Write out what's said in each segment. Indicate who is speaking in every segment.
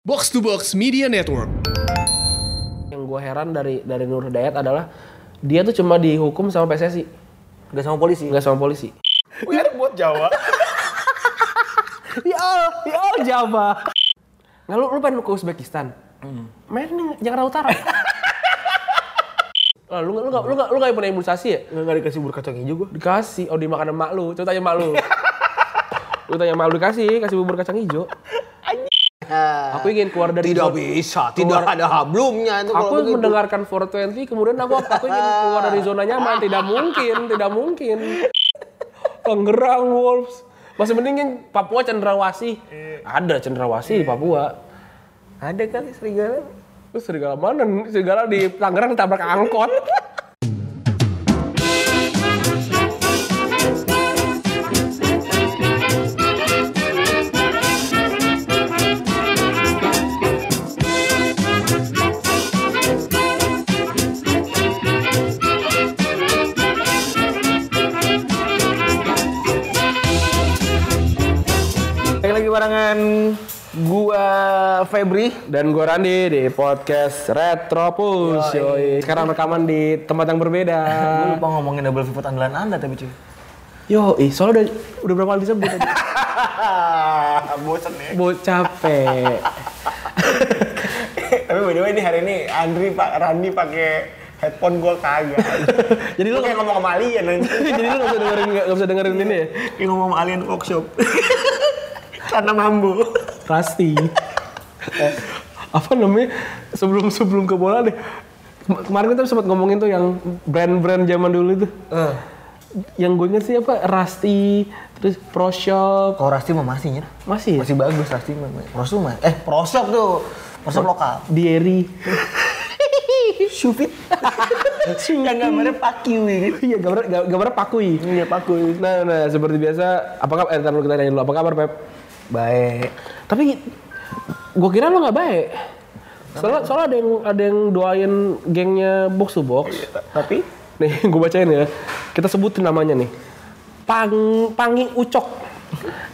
Speaker 1: Box to Box Media Network.
Speaker 2: yang gue heran dari dari Nur Hidayat adalah dia tuh cuma dihukum sama PSSI
Speaker 3: Gak sama polisi.
Speaker 2: nggak sama polisi
Speaker 3: buat Jawa.
Speaker 2: ya all ya all Jawa nggak lu lu pengen ke Uzbekistan
Speaker 3: Hmm.
Speaker 2: main di Jakarta Utara Lah, lu nggak- lu nggak lu nggak lu nggak punya imunisasi ya
Speaker 3: Nggak, nggak dikasih bubur kacang hijau gue.
Speaker 2: dikasih oh dimakan sama mak lu coba tanya mak lu lu tanya mak lu dikasih kasih bubur kacang hijau aku ingin keluar dari
Speaker 3: Tidak
Speaker 2: zona-
Speaker 3: bisa, tidak ada hablumnya itu
Speaker 2: aku
Speaker 3: kalau begitu.
Speaker 2: mendengarkan 420 kemudian aku aku ingin keluar dari zona nyaman tidak mungkin tidak mungkin Tangerang Wolves masih mending yang Papua Cendrawasih ada Cendrawasih di Papua
Speaker 3: Ada kali serigala.
Speaker 2: terus Iya. serigala mana serigala di Tangerang tabrak angkot
Speaker 3: Lagi lagi barengan gua Febri.
Speaker 2: dan gue Randi di podcast Retropus yoi. sekarang rekaman di tempat yang berbeda
Speaker 3: Gue lupa ngomongin double pivot andalan anda tapi cuy.
Speaker 2: yo ih soalnya udah, udah berapa kali disebut tadi.
Speaker 3: Bosan ya.
Speaker 2: Bo capek
Speaker 3: Eh, tapi by the way ini hari ini Andri Pak Randi pakai headphone gua kagak.
Speaker 2: Jadi lu-
Speaker 3: kayak ngomong sama alien nanti.
Speaker 2: jadi lu gak bisa dengerin gak bisa dengerin ini ya
Speaker 3: Kayak ngomong sama alien workshop. Karena mambu.
Speaker 2: Rasti. Eh, apa namanya? Sebelum sebelum ke bola deh. Kema- Kemarin kita sempat ngomongin tuh yang brand-brand zaman dulu tuh.
Speaker 3: Eh,
Speaker 2: Yang gue inget sih apa? Rasti, terus Pro Shop.
Speaker 3: Kalau Rasti mah masih ya?
Speaker 2: Masih ya?
Speaker 3: Masih bagus Rasti mah. Prosu mah. Eh, prosop tuh. Prosop lokal.
Speaker 2: Dieri.
Speaker 3: Shufit. Yang gambarnya fuck you gitu.
Speaker 2: Iya, gambar ga- gambarnya pakui. Iya, pakui. Nah, nah, seperti biasa, apa kabar? Eh, ntar dulu kita nanya dulu, apa kabar, Pep?
Speaker 3: Baik.
Speaker 2: Tapi gue kira lo nggak baik. Soalnya, soalnya ada yang ada yang doain gengnya box to box.
Speaker 3: Tapi
Speaker 2: Nih, gue bacain ya. Kita sebutin namanya nih. Pang, Pangi Ucok.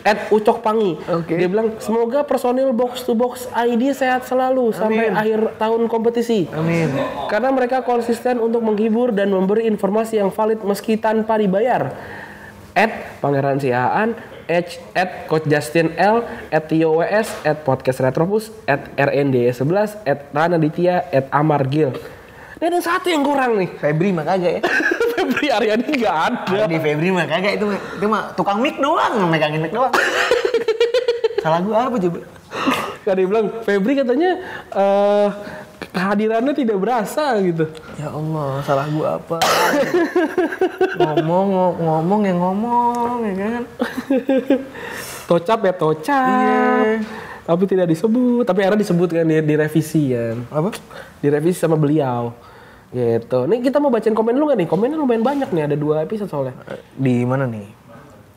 Speaker 2: At Ucok Pangi.
Speaker 3: Oke.
Speaker 2: Dia bilang, semoga personil box to box ID sehat selalu sampai akhir tahun kompetisi.
Speaker 3: Amin.
Speaker 2: Karena mereka konsisten untuk menghibur dan memberi informasi yang valid meski tanpa dibayar. At Pangeran Siaan, H, at Coach Justin L, at Tio WS, at Podcast Retropus, at RND11, at Rana Ditya, at Amar Gil. Ini ada satu yang kurang nih.
Speaker 3: Febri mah kagak ya.
Speaker 2: Febri Aryadi nggak ada.
Speaker 3: Di Febri mah kagak itu mah. Itu mah tukang mic doang, megangin mic doang. Salah gua apa coba?
Speaker 2: Gak ada yang bilang Febri katanya eh kehadirannya tidak berasa gitu.
Speaker 3: Ya Allah, salah gua apa? ngomong ngo- ngomong yang ngomong ya kan.
Speaker 2: Tocap ya tocap. Tapi tidak disebut. Tapi akhirnya disebut kan di, direvisi kan.
Speaker 3: Apa?
Speaker 2: Direvisi sama beliau. Gitu. Nih kita mau bacain komen lu gak nih? Komennya lumayan banyak nih. Ada dua episode soalnya.
Speaker 3: Di mana nih?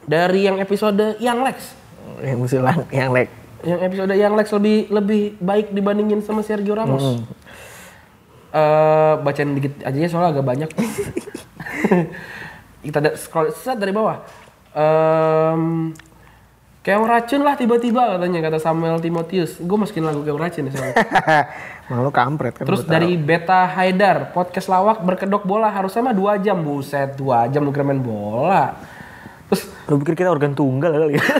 Speaker 2: Dari yang episode yang Lex.
Speaker 3: Yang musilan, yang lag.
Speaker 2: Yang episode yang Lex lebih lebih baik dibandingin sama Sergio Ramos. Eh bacain dikit aja ya soalnya agak banyak. Kita da- scroll set dari bawah. Em, keong racun lah tiba-tiba katanya kata Samuel Timotius. Gue masukin lagu keong racun ya soalnya.
Speaker 3: Malu kampret kan.
Speaker 2: Terus
Speaker 3: gua tahu.
Speaker 2: dari Beta Haidar, podcast lawak berkedok bola harusnya mah dua jam buset dua jam lu kira main bola. Terus
Speaker 3: Lu pikir kita organ tunggal kali ya?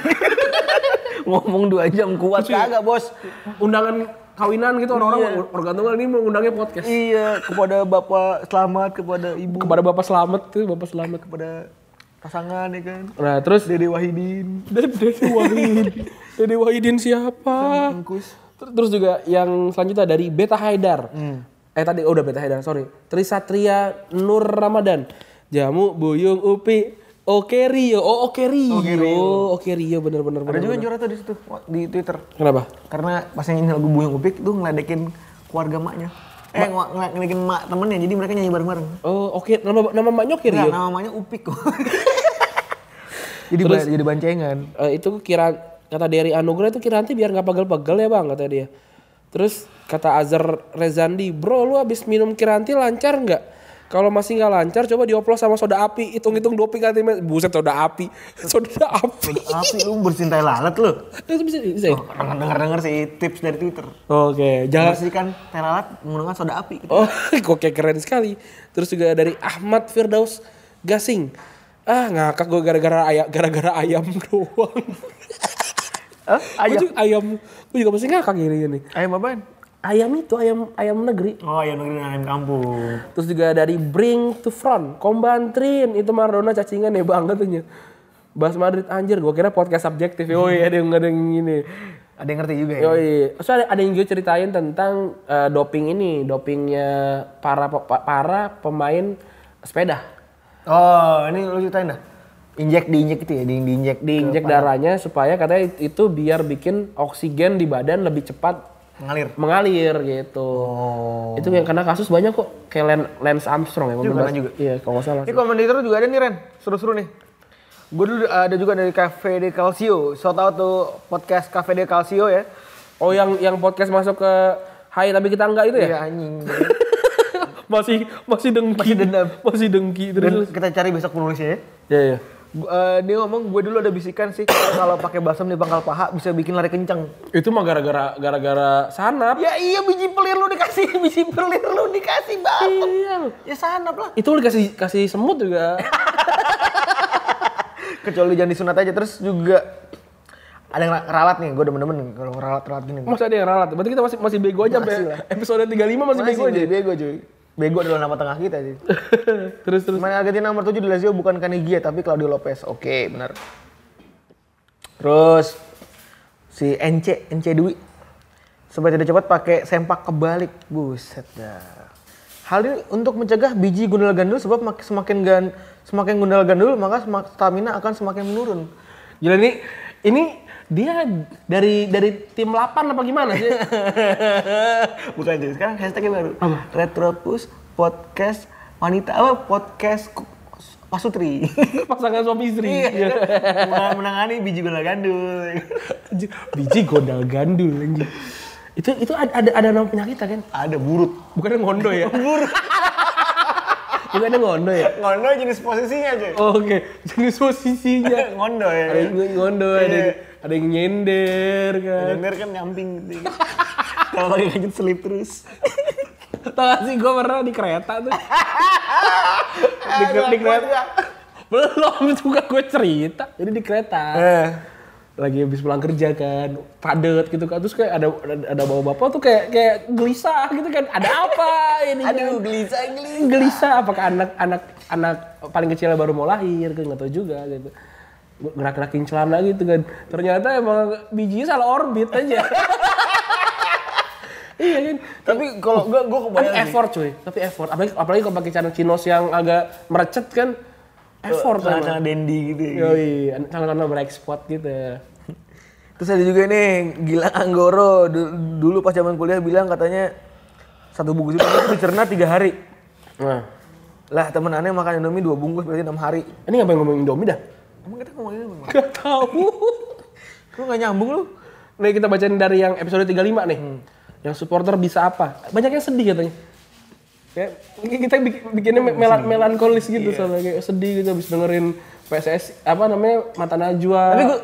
Speaker 3: Ngomong dua jam kuat kagak bos?
Speaker 2: undangan kawinan gitu orang-orang organ tunggal ini mau undangnya podcast.
Speaker 3: Iya, kepada bapak selamat, kepada ibu,
Speaker 2: kepada bapak selamat tuh bapak selamat
Speaker 3: kepada pasangan ya kan.
Speaker 2: nah terus
Speaker 3: Dede Wahidin,
Speaker 2: Dede Dede Wahidin Dede Wahidin siapa
Speaker 3: Angkus.
Speaker 2: Ter- terus juga yang selanjutnya dari Beta Haidar eh tadi oh, udah Beta Haidar sorry Trisatria Nur Ramadan jamu Buyung Upi Oke Rio oh Oke Rio Oke Rio, bener bener
Speaker 3: Ada
Speaker 2: bener
Speaker 3: juga yang juara tuh di situ di Twitter.
Speaker 2: kenapa
Speaker 3: Karena pas yang ini lagu Buyung Upik tuh ngeledekin keluarga maknya. Eh, ngel- ngel- ngeledekin mak temennya, jadi mereka nyanyi bareng-bareng.
Speaker 2: oh oke nama nama maknya Oke
Speaker 3: Enggak,
Speaker 2: Rio
Speaker 3: nama mamanya Upik kok. Iya. jadi ba- jadi bancengan.
Speaker 2: Eh, itu kira kata dari Anugrah itu Kiranti biar nggak pegel-pegel ya bang kata dia. Terus kata Azhar Rezandi, bro lu abis minum Kiranti lancar nggak? Kalau masih nggak lancar, coba dioplos sama soda api. Hitung-hitung doping kali ini. Buset soda api. Soda api.
Speaker 3: Tapi lu bersihin tai lalat lu.
Speaker 2: Itu bisa, bisa ya?
Speaker 3: Dengar-dengar sih tips dari Twitter.
Speaker 2: Oh, Oke, jangan.
Speaker 3: Bersihkan tai lalat menggunakan soda api.
Speaker 2: Oh, oke keren sekali. Terus juga dari Ahmad Firdaus Gasing. Ah, ngakak gue gara-gara ayam, gara-gara ayam doang.
Speaker 3: Eh,
Speaker 2: Ayam.
Speaker 3: ayam.
Speaker 2: juga ayam, gue juga pasti ngakak gini-gini.
Speaker 3: Ayam apaan?
Speaker 2: Ayam itu ayam ayam negeri.
Speaker 3: Oh, ayam negeri dan ayam kampung.
Speaker 2: Terus juga dari Bring to Front, Kombantrin, itu Maradona cacingan ya banget tuh Nye. Bahas Madrid anjir, gue kira podcast subjektif. Yoi, ada yang ada yang gini.
Speaker 3: Ada yang ngerti juga ya?
Speaker 2: Yoi, terus ada, ada yang juga ceritain tentang eh, doping ini, dopingnya para pe- pa- para pemain sepeda.
Speaker 3: Oh, ini lu ceritain dah. Injek diinjek itu ya, di diinjek
Speaker 2: Diinjek darahnya supaya katanya itu biar bikin oksigen di badan lebih cepat
Speaker 3: mengalir.
Speaker 2: mengalir gitu.
Speaker 3: Oh.
Speaker 2: Itu yang kena kasus banyak kok, kayak Len- Lance Armstrong ya. gua
Speaker 3: kena
Speaker 2: bilang.
Speaker 3: juga.
Speaker 2: Iya, kalau nggak salah.
Speaker 3: Ini komentator juga ada nih Ren, seru-seru nih. Gue dulu eh, ada juga dari Cafe de Calcio, shout out tuh podcast Cafe de Calcio ya.
Speaker 2: Oh yang yang podcast masuk ke Hai tapi kita enggak itu ya?
Speaker 3: Iya anjing.
Speaker 2: Masih masih dengki. Masih dendam. Masih dengki
Speaker 3: Dan
Speaker 2: terus.
Speaker 3: kita cari besok penulisnya ya.
Speaker 2: Iya iya.
Speaker 3: Gua- eh, dia ngomong gue dulu ada bisikan sih kalau pakai balsam di pangkal paha bisa bikin lari kencang.
Speaker 2: Itu mah gara-gara gara-gara sanap.
Speaker 3: Ya iya biji pelir lu dikasih, biji pelir lu dikasih balsam.
Speaker 2: Iya.
Speaker 3: Ya sanap lah.
Speaker 2: Itu lu dikasih kasih semut juga.
Speaker 3: kecuali jangan disunat aja terus juga ada yang ralat nih gue demen-demen nih kalau ralat-ralat gini
Speaker 2: Masih ada yang ralat. Berarti kita masih masih bego aja
Speaker 3: Masih
Speaker 2: sampai episode 35 masih, bego aja.
Speaker 3: bego cuy bego adalah nama tengah kita sih
Speaker 2: terus terus.
Speaker 3: main Argentina nomor 7 di Lazio bukan Canigia tapi Claudio Lopez oke benar terus si NC NC Dwi supaya tidak cepat pakai sempak kebalik buset dah Hal ini untuk mencegah biji gundal gandul sebab mak- semakin gan, semakin gundal gandul maka semak- stamina akan semakin menurun.
Speaker 2: Gila ini ini dia dari dari tim 8 apa gimana sih?
Speaker 3: Bukan itu. Sekarang hashtagnya baru. Retropus podcast wanita apa podcast ku- pasutri.
Speaker 2: Pasangan suami istri.
Speaker 3: Iya. kan? Menangani biji gula gandul.
Speaker 2: Anjing, Biji godal gandul anjing. Itu itu ada ada, ada nama penyakit kan?
Speaker 3: Ada burut.
Speaker 2: Bukannya ngondo ya? Bukannya ngondo ya?
Speaker 3: Ngondo jenis posisinya aja.
Speaker 2: Oke, jenis posisinya. Iya.
Speaker 3: Ngondo ya.
Speaker 2: Ada yang ngondo, ada yang, ada yang nyender kan.
Speaker 3: Dengar kan nyamping gitu. Kalau pakai kajet selip terus.
Speaker 2: Tau gak sih gue pernah di kereta tuh. di, di kereta. Belum juga gue cerita. Jadi di kereta.
Speaker 3: Eh.
Speaker 2: lagi habis pulang kerja kan padet gitu kan terus kayak ada ada- ada bawa bapak tuh kayak kayak gelisah gitu kan ada apa ini kan?
Speaker 3: Aduh, gelisah, gelisah.
Speaker 2: gelisah apakah anak anak anak paling kecilnya baru mau lahir kan nggak tahu juga gitu gerak gerakin celana gitu kan ternyata emang bijinya salah orbit aja iya kan
Speaker 3: Tapi kalau gua gua
Speaker 2: tapi
Speaker 3: kebayang sih.
Speaker 2: effort cuy tapi effort apalagi apalagi kalau pakai celana chinos yang agak merecet kan effort
Speaker 3: Celana-celana
Speaker 2: emang.
Speaker 3: dendi gitu. ya.
Speaker 2: Yoi, celana berekspor gitu
Speaker 3: Terus ada juga nih Gilang Anggoro Du- dulu pas zaman kuliah bilang katanya satu bungkus itu dicerna tiga hari.
Speaker 2: nah
Speaker 3: Lah temen aneh makan Indomie dua bungkus berarti enam hari.
Speaker 2: Ini ngapain ngomongin Indomie dah?
Speaker 3: Emang kita ngomongin apa?
Speaker 2: Gak tahu.
Speaker 3: Lu nggak nyambung lu?
Speaker 2: Nih kita bacain dari yang episode 35 nih.
Speaker 3: Hmm.
Speaker 2: Yang supporter bisa apa? Banyak yang sedih katanya. Kayak kita bik- bikinnya me- melan- melankolis
Speaker 3: Iya.
Speaker 2: gitu soalnya kayak sedih gitu habis dengerin PSS apa namanya Mata Najwa.
Speaker 3: Tapi gua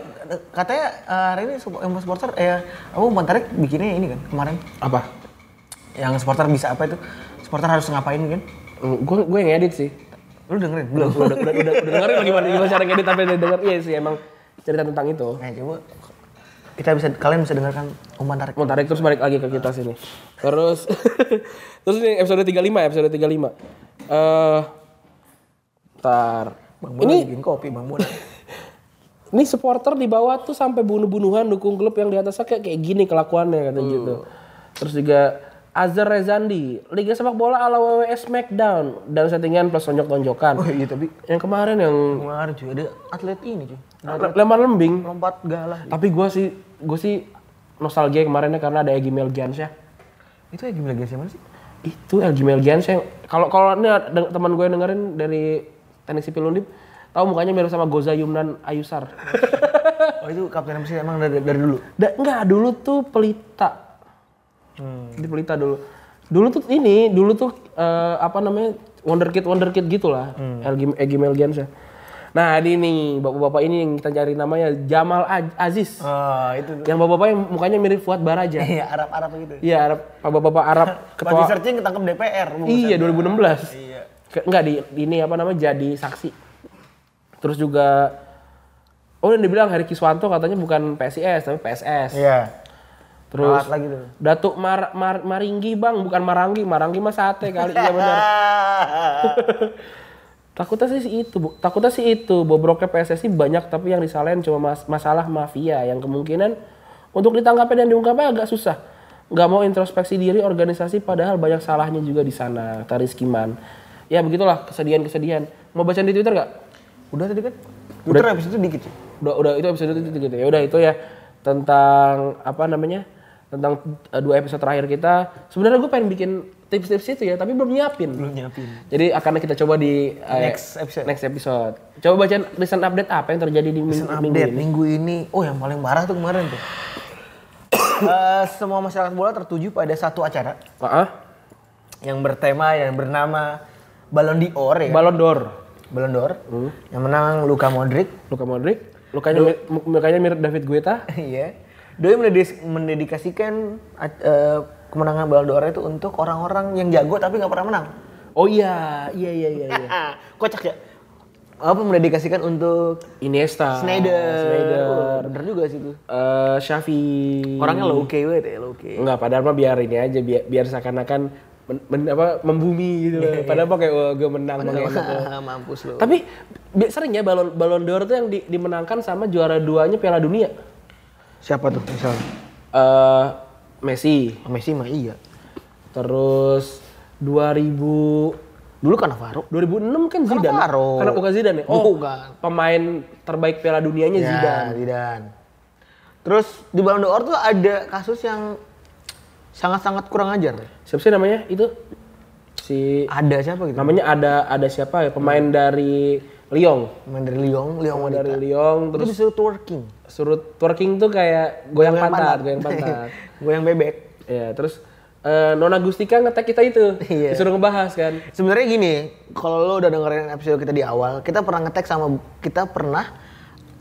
Speaker 3: katanya eh, hari ini sup- yang supporter eh aku Mantarik bikinnya ini kan kemarin
Speaker 2: apa?
Speaker 3: yang supporter bisa apa itu? Supporter harus ngapain kan?
Speaker 2: Gue gue Hmm, yang edit sih.
Speaker 3: Lu dengerin belum?
Speaker 2: Udah udah udah, udah dengerin lagi gimana gimana cara ngedit tapi udah denger iya sih emang cerita tentang itu.
Speaker 3: Nah, coba kita bisa kalian bisa dengarkan Om Mantarik.
Speaker 2: Mau tarik terus balik lagi ke kita sini. Terus terus ini episode 35 episode 35. Eh Bentar.
Speaker 3: Bang
Speaker 2: Eh, Ini
Speaker 3: ini bikin kopi Bang Bona.
Speaker 2: ini supporter di bawah tuh sampai bunuh-bunuhan dukung klub yang di atasnya kayak kayak gini kelakuannya
Speaker 3: Hmm.
Speaker 2: katanya gitu. Terus juga Azhar Rezandi, Liga Sepak Bola ala WWE Smackdown dan settingan plus
Speaker 3: oh
Speaker 2: tonjok-tonjokan.
Speaker 3: iya tapi
Speaker 2: Yang kemarin yang
Speaker 3: kemarin cuy ada atlet ini cuy.
Speaker 2: le- lempar lembing.
Speaker 3: Lompat galah.
Speaker 2: Tapi gua sih gua sih nostalgia kemarinnya karena ada Egy Melgiansyah.
Speaker 3: Itu ya gimana guys mana sih?
Speaker 2: itu LG Melgiansyah yang kalau kalau ini ada- teman gue yang dengerin dari teknik sipil Undip tahu mukanya mirip sama Goza Yumnan Ayusar.
Speaker 3: Oh itu kapten Messi emang dari, dari dulu.
Speaker 2: Da, enggak dulu tuh
Speaker 3: Hmm.
Speaker 2: pelita. Di pelita dulu. Dulu tuh ini, dulu tuh eh, apa namanya wonderkid wonderkid gitulah
Speaker 3: Hmm.
Speaker 2: Elgi Egi Melgiansyah. Nah ini nih bapak-bapak ini yang kita cari namanya Jamal Az- Aziz.
Speaker 3: Ah, itu.
Speaker 2: Yang bapak-bapak yang mukanya mirip Fuad Baraja.
Speaker 3: Iya, Arab-Arab gitu.
Speaker 2: Iya, Arab- bapak-bapak Arab
Speaker 3: Lagi
Speaker 2: ketua.
Speaker 3: searching ketangkep DPR. Bu.
Speaker 2: Iya, 2016.
Speaker 3: Iya.
Speaker 2: Ke- Enggak di di ini apa namanya jadi saksi. Terus juga Oh, dan dibilang Heri Kiswanto katanya bukan PSIS tapi PSS.
Speaker 3: Iya.
Speaker 2: Terus
Speaker 3: Alat lagi tuh.
Speaker 2: Datuk Mar, Mar- Maringgi Bang, bukan Maranggi. Maranggi mah sate kali. Iya benar. Takutnya sih itu, Bu. takutnya sih itu. Bobroknya PSSI banyak tapi yang disalahin cuma mas- masalah mafia yang kemungkinan untuk ditangkapnya dan diungkapnya agak susah. Nggak mau introspeksi diri organisasi padahal banyak salahnya juga di sana. Taris Kiman. Ya begitulah kesedihan-kesedihan. Mau baca di Twitter nggak?
Speaker 3: Udah tadi kan? Twitter habis itu dikit sih.
Speaker 2: Udah, udah itu episode itu gitu ya. Udah itu ya tentang apa namanya? Tentang eh, dua episode terakhir kita. Sebenarnya gue pengen bikin tips-tips itu ya, tapi belum nyiapin.
Speaker 3: Belum nyiapin.
Speaker 2: Jadi akan kita coba di eh,
Speaker 3: Next episode.
Speaker 2: Next episode. Coba baca recent update apa yang terjadi di minggu, minggu
Speaker 3: update
Speaker 2: ini.
Speaker 3: minggu ini. Oh, yang paling parah tuh kemarin tuh. Eh, semua masyarakat bola tertuju pada satu acara
Speaker 2: Heeh.
Speaker 3: yang bertema yang bernama Ballon d'Or ya.
Speaker 2: Ballon d'Or.
Speaker 3: Ballon d'Or.
Speaker 2: Hmm.
Speaker 3: Yang menang Luka Modric.
Speaker 2: Luka Modric, lukanya mir- mu- mukanya mirip David Guetta.
Speaker 3: Iya. Doi mendedes- mendedikasikan eh, kemenangan Ballon d'Or itu untuk orang-orang yang jago tapi nggak pernah menang.
Speaker 2: Oh iya, iya iya iya. iya.
Speaker 3: Kocak ya. Apa mendedikasikan untuk
Speaker 2: Iniesta.
Speaker 3: Snyder.
Speaker 2: Snyder.
Speaker 3: Oh, bener juga sih itu.
Speaker 2: Eh, Xavi.
Speaker 3: Orangnya low key banget ya, Iya. low key.
Speaker 2: Enggak, padahal mah biar ini aja biar, biar seakan-akan men- men- apa membumi gitu. Padahal mah kayak gue menang mah kayak enak.
Speaker 3: Mampus lu.
Speaker 2: Tapi bi- sering ya balon balon d'Or tuh yang di- dimenangkan sama juara duanya Piala Dunia.
Speaker 3: Siapa tuh misalnya?
Speaker 2: eh Messi.
Speaker 3: Messi mah iya.
Speaker 2: Terus 2000
Speaker 3: Dulu kan Navarro.
Speaker 2: 2006 kan Zidane.
Speaker 3: Cannavaro.
Speaker 2: Karena bukan Zidane ya? Oh,
Speaker 3: Bukan. Ya.
Speaker 2: pemain terbaik Piala Dunianya Zidane.
Speaker 3: Zidane. Terus di Ballon d'Or tuh ada kasus yang sangat-sangat kurang ajar. ya?
Speaker 2: Siapa sih namanya? Itu si
Speaker 3: Ada siapa gitu?
Speaker 2: namanya ada ada siapa ya? Pemain dari Lyon.
Speaker 3: Pemain dari Lyon, Lyon
Speaker 2: Pemain
Speaker 3: wanita.
Speaker 2: dari Lyon
Speaker 3: Itu
Speaker 2: terus
Speaker 3: disuruh twerking.
Speaker 2: surut twerking tuh kayak goyang pantat, goyang pantat.
Speaker 3: Goyang bebek.
Speaker 2: ya, terus eh, Nona Gustika ngetek kita itu.
Speaker 3: Iya.
Speaker 2: Disuruh ngebahas kan.
Speaker 3: Sebenarnya gini, kalau lo udah dengerin episode kita di awal, kita pernah ngetek sama kita pernah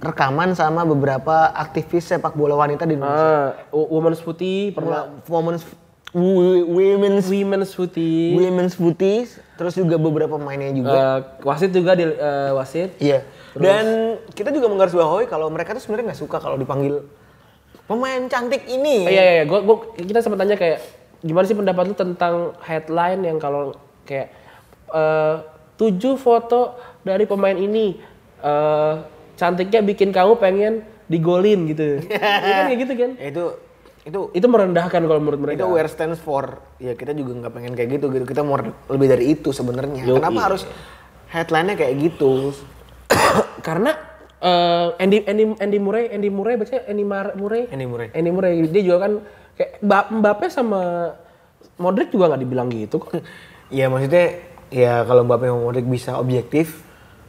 Speaker 3: rekaman sama beberapa aktivis sepak bola wanita di Indonesia.
Speaker 2: Ah, wo- women's putih pernah
Speaker 3: iya. Women's women's
Speaker 2: women's putih.
Speaker 3: women's putih, terus juga beberapa pemainnya juga.
Speaker 2: Eh, wasit juga di eh, wasit
Speaker 3: Iya. Dan kita juga menggarisbawahi kalau mereka tuh sebenarnya nggak suka kalau dipanggil pemain cantik ini.
Speaker 2: Oh, iya iya iya. gua, gua kita sempat tanya kayak gimana sih pendapat lu tentang headline yang kalau kayak eh, tujuh foto dari pemain ini eh, cantiknya bikin kamu pengen digolin gitu Iya kan kayak gitu kan
Speaker 3: Ya, itu itu
Speaker 2: itu merendahkan kalau menurut mereka
Speaker 3: itu where stands for. Ya kita juga nggak pengen kayak gitu gitu. Kita mau lebih dari itu sebenarnya.
Speaker 2: Yoi.
Speaker 3: Kenapa harus headline-nya kayak gitu?
Speaker 2: karena eh, Andy Andy Andy Murray Andy Murray baca Andy Mar- Murray
Speaker 3: Andy Murray.
Speaker 2: Andy Murray dia juga kan kayak Mba- Mbappe sama Modric juga nggak dibilang gitu kok
Speaker 3: Ya maksudnya ya kalau Mbappe sama Modric bisa objektif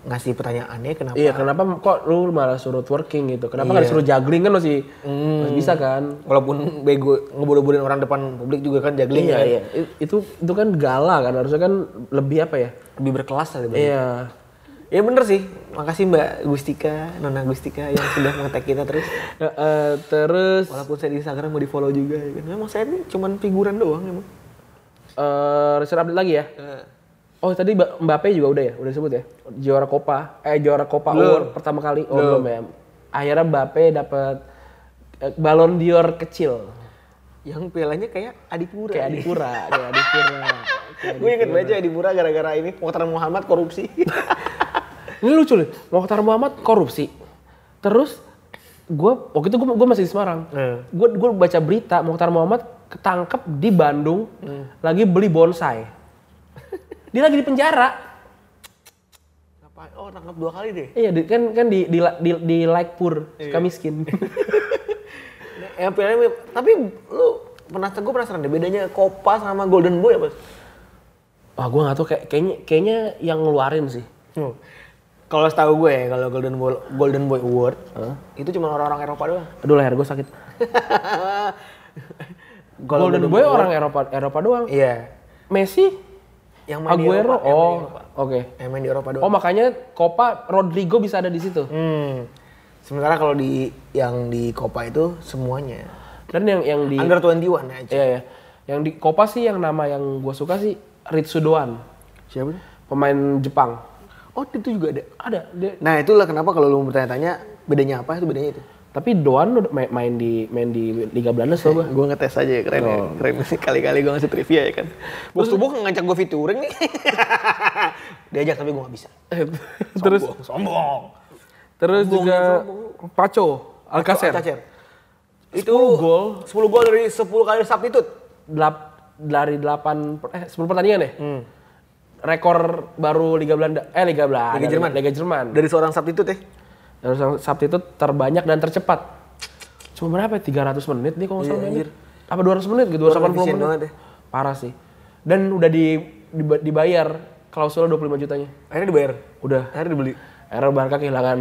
Speaker 3: ngasih pertanyaannya kenapa?
Speaker 2: Iya, kenapa kok lu malah suruh twerking gitu? Kenapa
Speaker 3: Iya.
Speaker 2: nggak disuruh juggling kan masih
Speaker 3: Hmm.
Speaker 2: masih bisa kan?
Speaker 3: Walaupun bego ngeburu-buruin orang depan publik juga kan juggling kan?
Speaker 2: Iya. I- Itu itu kan gala kan harusnya kan lebih apa ya?
Speaker 3: Lebih berkelas lah dibanding-
Speaker 2: Iya.
Speaker 3: Ya bener sih, makasih Mbak Gustika, Nona Gustika yang sudah mengetek kita terus.
Speaker 2: Eh, eh, terus
Speaker 3: Walaupun saya di Instagram mau di follow juga, ya kan? Emang saya ini cuman figuran doang emang.
Speaker 2: eh research update lagi ya. Oh, tadi Mba- Mbappe juga udah ya, udah sebut ya. Juara Copa, eh juara Copa Award pertama kali. Oh, belum ya. Akhirnya Mbappe dapat eh, Ballon d'Or kecil.
Speaker 3: Yang pialanya kayak Adipura.
Speaker 2: Kayak Adipura, kayak Adipura.
Speaker 3: Gue inget baca Adipura gara-gara ini Mokhtar Muhammad korupsi.
Speaker 2: Ini lucu nih, Mokhtar Muhammad korupsi. Terus gue waktu itu gue masih di Semarang.
Speaker 3: Hmm.
Speaker 2: Gue gue baca berita Mokhtar Muhammad ketangkep di Bandung lagi beli bonsai. Dia lagi di penjara.
Speaker 3: Ngapain? Oh, tangkap dua kali deh.
Speaker 2: Iya, di- kan kan di di di, di Laikpur, suka
Speaker 3: Iya.
Speaker 2: miskin.
Speaker 3: Yang pialanya, tapi lu penasaran, gue penasaran deh bedanya Kopa sama Golden Boy apa?
Speaker 2: Wah, gue nggak tahu kayak kayaknya kayaknya yang ngeluarin sih.
Speaker 3: Hmm. Kalau setahu gue ya, kalau Golden Boy, Golden Boy Award, itu cuma orang-orang Eropa doang.
Speaker 2: Aduh leher gue sakit.
Speaker 3: Kalau ya?
Speaker 2: Golden Boy orang Eropa Eropa doang.
Speaker 3: Iya.
Speaker 2: Messi
Speaker 3: Yang main di
Speaker 2: Aguero.
Speaker 3: Eropa,
Speaker 2: oh,
Speaker 3: iya. yang main di
Speaker 2: oke.
Speaker 3: Yang main di Eropa doang.
Speaker 2: Oh, makanya Copa Rodrigo bisa ada di situ.
Speaker 3: Hmm. Sementara kalau di yang di Copa itu semuanya.
Speaker 2: Dan yang yang di
Speaker 3: Under 21 aja.
Speaker 2: Iya, iya. Yang di Copa sih yang nama yang gue suka sih Ritsu Doan,
Speaker 3: Siapa tuh?
Speaker 2: pemain Jepang.
Speaker 3: Oh, itu juga ada.
Speaker 2: Ada dia.
Speaker 3: Nah, itulah kenapa kalau lu bertanya-tanya bedanya apa itu bedanya itu.
Speaker 2: Tapi Doan udah main, main di main di Liga Belanda coba.
Speaker 3: Gue ngetes aja ya, keren ya. Keren sih kali-kali gue ngasih trivia ya kan. Bos tubuh ngajak gue featuring nih. Diajak tapi gue gak bisa.
Speaker 2: terus
Speaker 3: Sombong, sombong.
Speaker 2: terus juga Paco Alcacer.
Speaker 3: Alcacer. Itu
Speaker 2: 10 gol.
Speaker 3: 10 gol dari 10 kali substitute.
Speaker 2: Delap, dari 8 per- eh 10 pertandingan ya?
Speaker 3: Hmm.
Speaker 2: Rekor baru Liga Belanda eh Liga Belanda.
Speaker 3: Liga Jerman.
Speaker 2: Liga Jerman.
Speaker 3: Dari seorang substitute ya.
Speaker 2: Terus yang substitute terbanyak dan tercepat. Cuma berapa ya? 300 menit nih kalau nggak salah.
Speaker 3: Iya,
Speaker 2: mainnya.
Speaker 3: anjir.
Speaker 2: Apa 200 menit gitu?
Speaker 3: Orang
Speaker 2: 280
Speaker 3: efisien
Speaker 2: menit.
Speaker 3: banget ya.
Speaker 2: Parah sih. Dan udah di, diba- dibayar klausul 25 jutanya.
Speaker 3: Akhirnya dibayar.
Speaker 2: Udah.
Speaker 3: Akhirnya dibeli.
Speaker 2: Era Barca kehilangan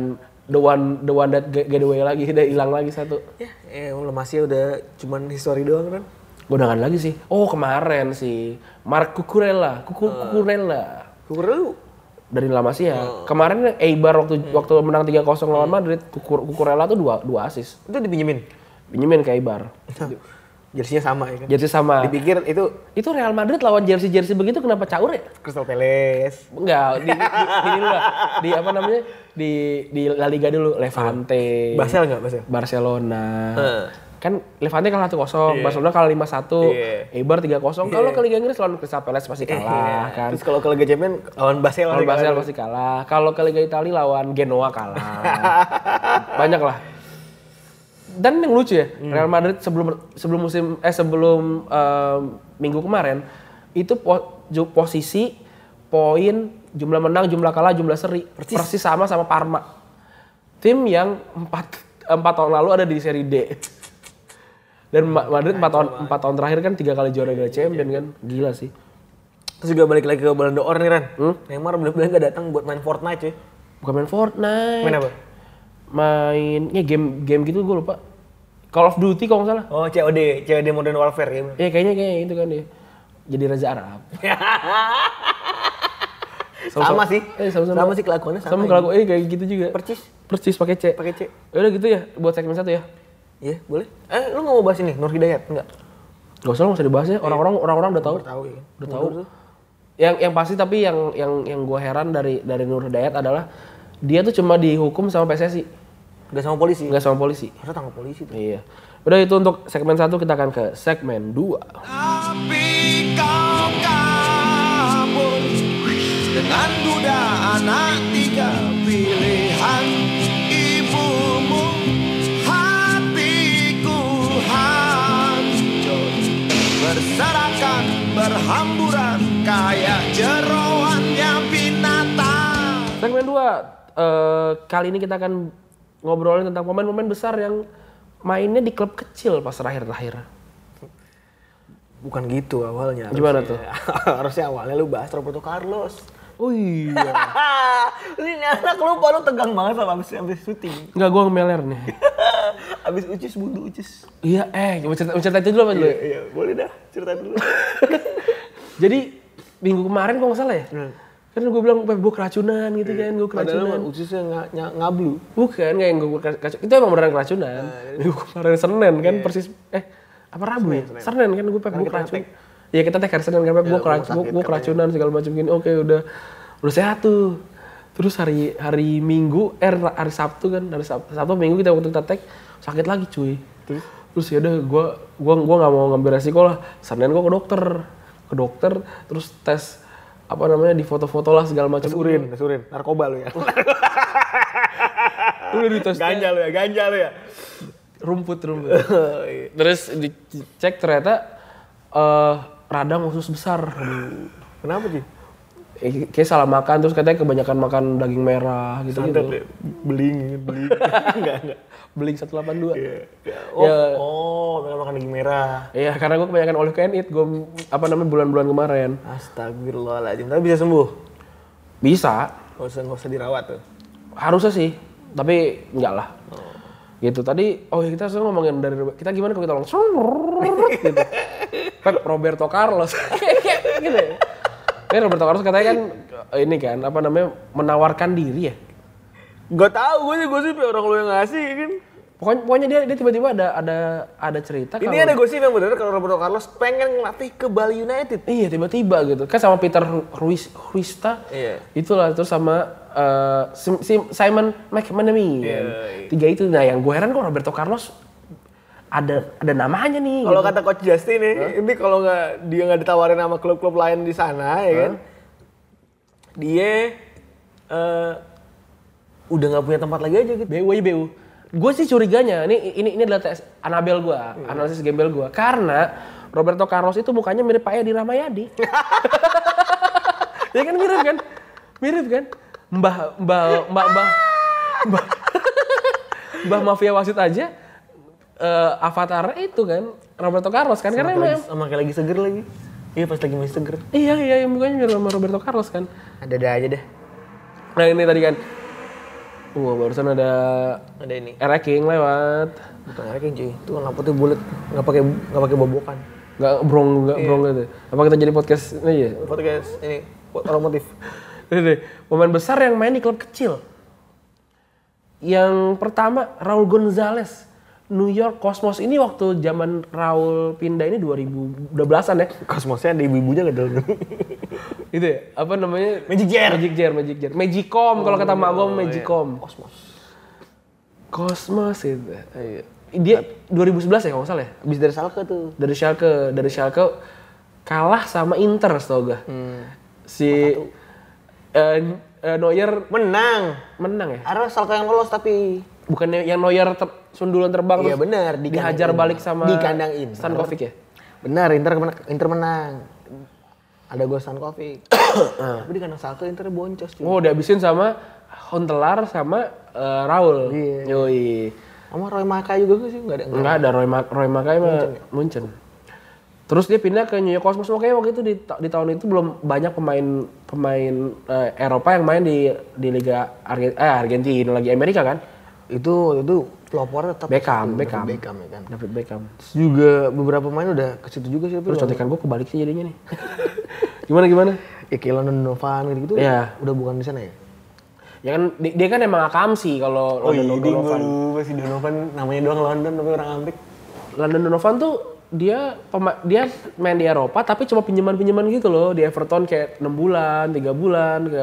Speaker 2: the one the one that get- getaway lagi, udah hilang lagi satu.
Speaker 3: Ya, eh, lemasnya udah cuman history doang kan.
Speaker 2: Godangan lagi sih. Oh, kemarin sih Mark Cucurella, Cucu- Cucurella.
Speaker 3: Kukur lu.
Speaker 2: dari lama sih ya.
Speaker 3: Hmm.
Speaker 2: Kemarin Eibar waktu waktu menang 3-0 lawan Madrid, Cucu- Cucurella tuh dua dua asis.
Speaker 3: Itu dipinjemin.
Speaker 2: Pinjemin ke Eibar.
Speaker 3: Jersinya sama ya kan.
Speaker 2: Jersey sama
Speaker 3: Dipikir itu
Speaker 2: Itu Real Madrid lawan jersey jersey begitu kenapa caur ya?
Speaker 3: Crystal Palace.
Speaker 2: Enggak, di, di, gini dulu lah. Di apa namanya? Di di La Liga dulu, Levante.
Speaker 3: Basel nggak Basel?
Speaker 2: Barcelona.
Speaker 3: Eh.
Speaker 2: Kan Levante kalah 1-0, Barcelona kalah 5-1,
Speaker 3: Iya.
Speaker 2: Eibar 3-0. Kalau ke Liga Inggris lawan Crystal Palace pasti kalah kan.
Speaker 3: Terus kalau ke Liga Champion lawan Basel.
Speaker 2: Lawan
Speaker 3: kan?
Speaker 2: Basel pasti kalah. Kalau ke Liga Italia lawan Genoa kalah. Banyak lah. Dan yang lucu ya,
Speaker 3: Hmm.
Speaker 2: Real Madrid sebelum sebelum musim eh sebelum em, minggu kemarin itu po- ju- posisi poin jumlah menang, jumlah kalah, jumlah seri persis, sama sama Parma. Tim yang empat empat tahun lalu ada di Serie D. Dan Ma- Madrid empat tahun empat tahun terakhir kan tiga kali juara
Speaker 3: Iya.
Speaker 2: Liga Champion kan, gila sih.
Speaker 3: Terus juga balik lagi ke Ballon d'Or nih Ran.
Speaker 2: Hmm?
Speaker 3: Neymar bener-bener gak datang buat main Fortnite cuy.
Speaker 2: Bukan main Fortnite.
Speaker 3: Main apa?
Speaker 2: main ya game game gitu gue lupa Call of Duty kalau nggak salah
Speaker 3: Oh COD, COD Modern Warfare ya.
Speaker 2: ya kayaknya kayak itu kan dia jadi raja Arab
Speaker 3: Sama sih.
Speaker 2: eh, sama, -sama.
Speaker 3: Sama sih kelakuannya sama
Speaker 2: sama
Speaker 3: ya.
Speaker 2: kelakuan eh kayak gitu juga
Speaker 3: Percis.
Speaker 2: persis pakai c
Speaker 3: Pakai C.
Speaker 2: ya udah gitu ya buat segmen satu ya
Speaker 3: Iya boleh. Eh lu gak mau bahas ini Nur Hidayat? Enggak.
Speaker 2: nggak usah nggak usah dibahas ya orang-orang orang-orang udah tahu
Speaker 3: Iya. Tahu ya.
Speaker 2: udah tahu yang yang pasti tapi yang yang yang gue heran dari dari Nur Hidayat adalah dia tuh cuma dihukum sama PSSI
Speaker 3: Gak sama polisi.
Speaker 2: nggak sama polisi
Speaker 3: Masa tangkap polisi tuh.
Speaker 2: iya udah itu untuk segmen satu kita akan ke segmen dua
Speaker 4: Tapi kau kabur dengan duda anak tiga pilihan ibumu hatiku hancur berserakan berhamburan kayak jeroannya binatang.
Speaker 2: Segmen 2, kali ini kita akan ngobrolin tentang pemain-pemain besar yang mainnya di klub kecil pas terakhir-terakhir.
Speaker 3: Bukan gitu awalnya.
Speaker 2: Gimana
Speaker 3: harusnya.
Speaker 2: tuh?
Speaker 3: harusnya awalnya lu bahas Roberto Carlos.
Speaker 2: Oh iya.
Speaker 3: ini anak lupa lu tegang banget sama abis, abis syuting.
Speaker 2: Enggak, gue ngemeler nih.
Speaker 3: abis ucis buntu ucis.
Speaker 2: iya, eh, coba cerita, cerita itu dulu apa dulu? ya?
Speaker 3: Iya boleh dah cerita dulu.
Speaker 2: Jadi, minggu kemarin kalau nggak salah ya? Kan gue bilang, gue keracunan gitu kan, gue keracunan.
Speaker 3: Padahal ucisnya nga- nya- ngablu.
Speaker 2: Bukan, kayak yang gue keracunan. Itu emang beneran keracunan. Minggu kemarin Senin kan, persis, eh, apa Rabu ya? iya. Senin kan, gue pep, gue keracunan. Iya, kita teh hari Senin kan, pep, gue keracunan, gue keracunan segala macam gini. Oke, udah, udah sehat tuh. Terus hari hari Minggu, eh hari Sabtu kan, hari Sabtu, Sabtu Minggu kita waktu kita tag sakit lagi cuy. Terus, terus ya udah, gue gua gua nggak mau ngambil resiko lah. Senin gue ke dokter, ke dokter, terus tes apa namanya di foto-foto lah segala macam
Speaker 3: Surin, surin, narkoba lu ya.
Speaker 2: udah dites
Speaker 3: ganja lu ya, ganja lu ya.
Speaker 2: rumput rumput
Speaker 3: Iya.
Speaker 2: terus dicek ternyata eh radang usus besar
Speaker 3: Kenapa sih?
Speaker 2: Eh, kayak salah makan terus katanya kebanyakan makan daging merah gitu gitu
Speaker 3: ya. beling, beling. enggak, enggak.
Speaker 2: beling 182
Speaker 3: Oh,
Speaker 2: Ya.
Speaker 3: oh, mereka makan daging merah.
Speaker 2: iya karena gue kebanyakan all you can eat gue apa namanya bulan-bulan kemarin
Speaker 3: Astagfirullahaladzim, tapi bisa sembuh.
Speaker 2: bisa
Speaker 3: Gak usah, nggak usah dirawat tuh.
Speaker 2: harusnya sih tapi enggak lah gitu tadi oh ya kita sekarang ngomongin dari kita gimana kalau kita langsung gitu Pep Roberto Carlos gitu ya. Kan Roberto Carlos katanya kan eh, ini kan apa namanya menawarkan diri ya.
Speaker 3: Gak tau gue sih gosip ya orang lu yang ngasih kan.
Speaker 2: Pokoknya, pokoknya dia dia tiba-tiba ada ada ada cerita
Speaker 3: Ini
Speaker 2: kalau-
Speaker 3: ada gosip yang benar kalau Roberto Carlos pengen ngelatih ke Bali United.
Speaker 2: Iya tiba-tiba gitu. Kan sama Peter Ru- Ruiz Ruista.
Speaker 3: Iya.
Speaker 2: Itulah terus sama eh, Sim- Sim- Simon
Speaker 3: Iya,
Speaker 2: McManamy. Tiga itu nah yang gue heran kok Roberto Carlos ada ada namanya nih.
Speaker 3: Kalau
Speaker 2: gitu.
Speaker 3: kata Coach Justin nih, ini kalau nggak dia nggak ditawarin sama klub-klub lain di sana, ya kan? Dia eh, udah nggak punya tempat lagi aja gitu.
Speaker 2: BU aja BU. Gue sih curiganya, ini ini ini adalah tes Anabel gue, analisis gembel gue. Karena Roberto Carlos itu mukanya mirip Pak Edi Ramayadi. ya kan mirip kan? Mirip kan? Mbah Mbah Mbah Mbah Mbah, Mbah Mafia Wasit aja eh, avatar itu kan Roberto Carlos kan karena
Speaker 3: Karena
Speaker 2: emang
Speaker 3: lagi, sama kayak lagi seger lagi. Iya pas lagi masih seger.
Speaker 2: iya iya yang mukanya mirip sama Roberto Carlos kan.
Speaker 3: Ada ada aja deh.
Speaker 2: Nah ini tadi kan, wah barusan ada
Speaker 3: Ada ini.
Speaker 2: Era King lewat.
Speaker 3: Bukan lagi cuy. Itu kan lampu tuh bulat, nggak pakai nggak pakai bobokan.
Speaker 2: Nggak brong, nggak
Speaker 3: Iya.
Speaker 2: brong gitu. Apa kita jadi podcast ini ya?
Speaker 3: Podcast ini buat otomotif.
Speaker 2: Ini deh, pemain besar yang main di klub kecil. Yang pertama Raul Gonzalez. New York Cosmos ini waktu zaman Raul pindah ini 2012-an ya.
Speaker 3: Kosmosnya ada ibu-ibunya nggak dalam.
Speaker 2: Itu ya, apa namanya?
Speaker 3: Magic Oh, iya. Jer.
Speaker 2: Magic Jer, Magic Jer. Magicom kalau kata mak gua Magicom. Cosmos. Cosmos itu. Iya. Dia 2011 ya kalau nggak salah ya?
Speaker 3: Abis dari Salke tuh.
Speaker 2: dari Schalke dari Schalke kalah sama Inter setahu gue
Speaker 3: Hmm.
Speaker 2: si eh, eh, Neuer
Speaker 3: Menang.
Speaker 2: menang ya
Speaker 3: Ada Salke yang lolos tapi
Speaker 2: bukannya yang Neuer ter- sundulan terbang
Speaker 3: Iya
Speaker 2: terus
Speaker 3: benar, di kandang
Speaker 2: dihajar
Speaker 3: Inter.
Speaker 2: balik sama
Speaker 3: Di kandang Inter.
Speaker 2: Stankovic ya
Speaker 3: Benar, Inter menang. Inter menang. Ada gol Stankovic. Tapi di kandang Salke Inter boncos cuy.
Speaker 2: oh dihabisin sama Hontelar sama eh, Raul
Speaker 3: Iya.
Speaker 2: yoi
Speaker 3: Sama Roy Maka juga sih enggak ada enggak.
Speaker 2: Enggak ada Roy, Ma Roy Makai mah Munchen. Terus dia pindah ke New York Cosmos makanya waktu itu di, ta- di tahun itu belum banyak pemain pemain eh, Eropa yang main di di Liga Arge eh, Argentina lagi Amerika kan.
Speaker 3: Itu itu pelopor tetap
Speaker 2: Beckham,
Speaker 3: David
Speaker 2: Beckham.
Speaker 3: Beckham ya kan.
Speaker 2: David Beckham.
Speaker 3: Terus juga beberapa pemain udah ke situ juga sih tapi
Speaker 2: Terus contekan gue kebalik sih jadinya nih. gimana gimana?
Speaker 3: ya kayak London Donovan gitu-gitu
Speaker 2: Iya.
Speaker 3: udah bukan di sana ya.
Speaker 2: Ya kan di- dia kan emang akam sih kalau
Speaker 3: Oh iya,
Speaker 2: London Donovan.
Speaker 3: masih Donovan namanya doang London tapi orang Amerika.
Speaker 2: London Donovan tuh dia pema- dia main di Eropa tapi cuma pinjaman-pinjaman gitu loh di Everton kayak 6 bulan, 3 bulan ke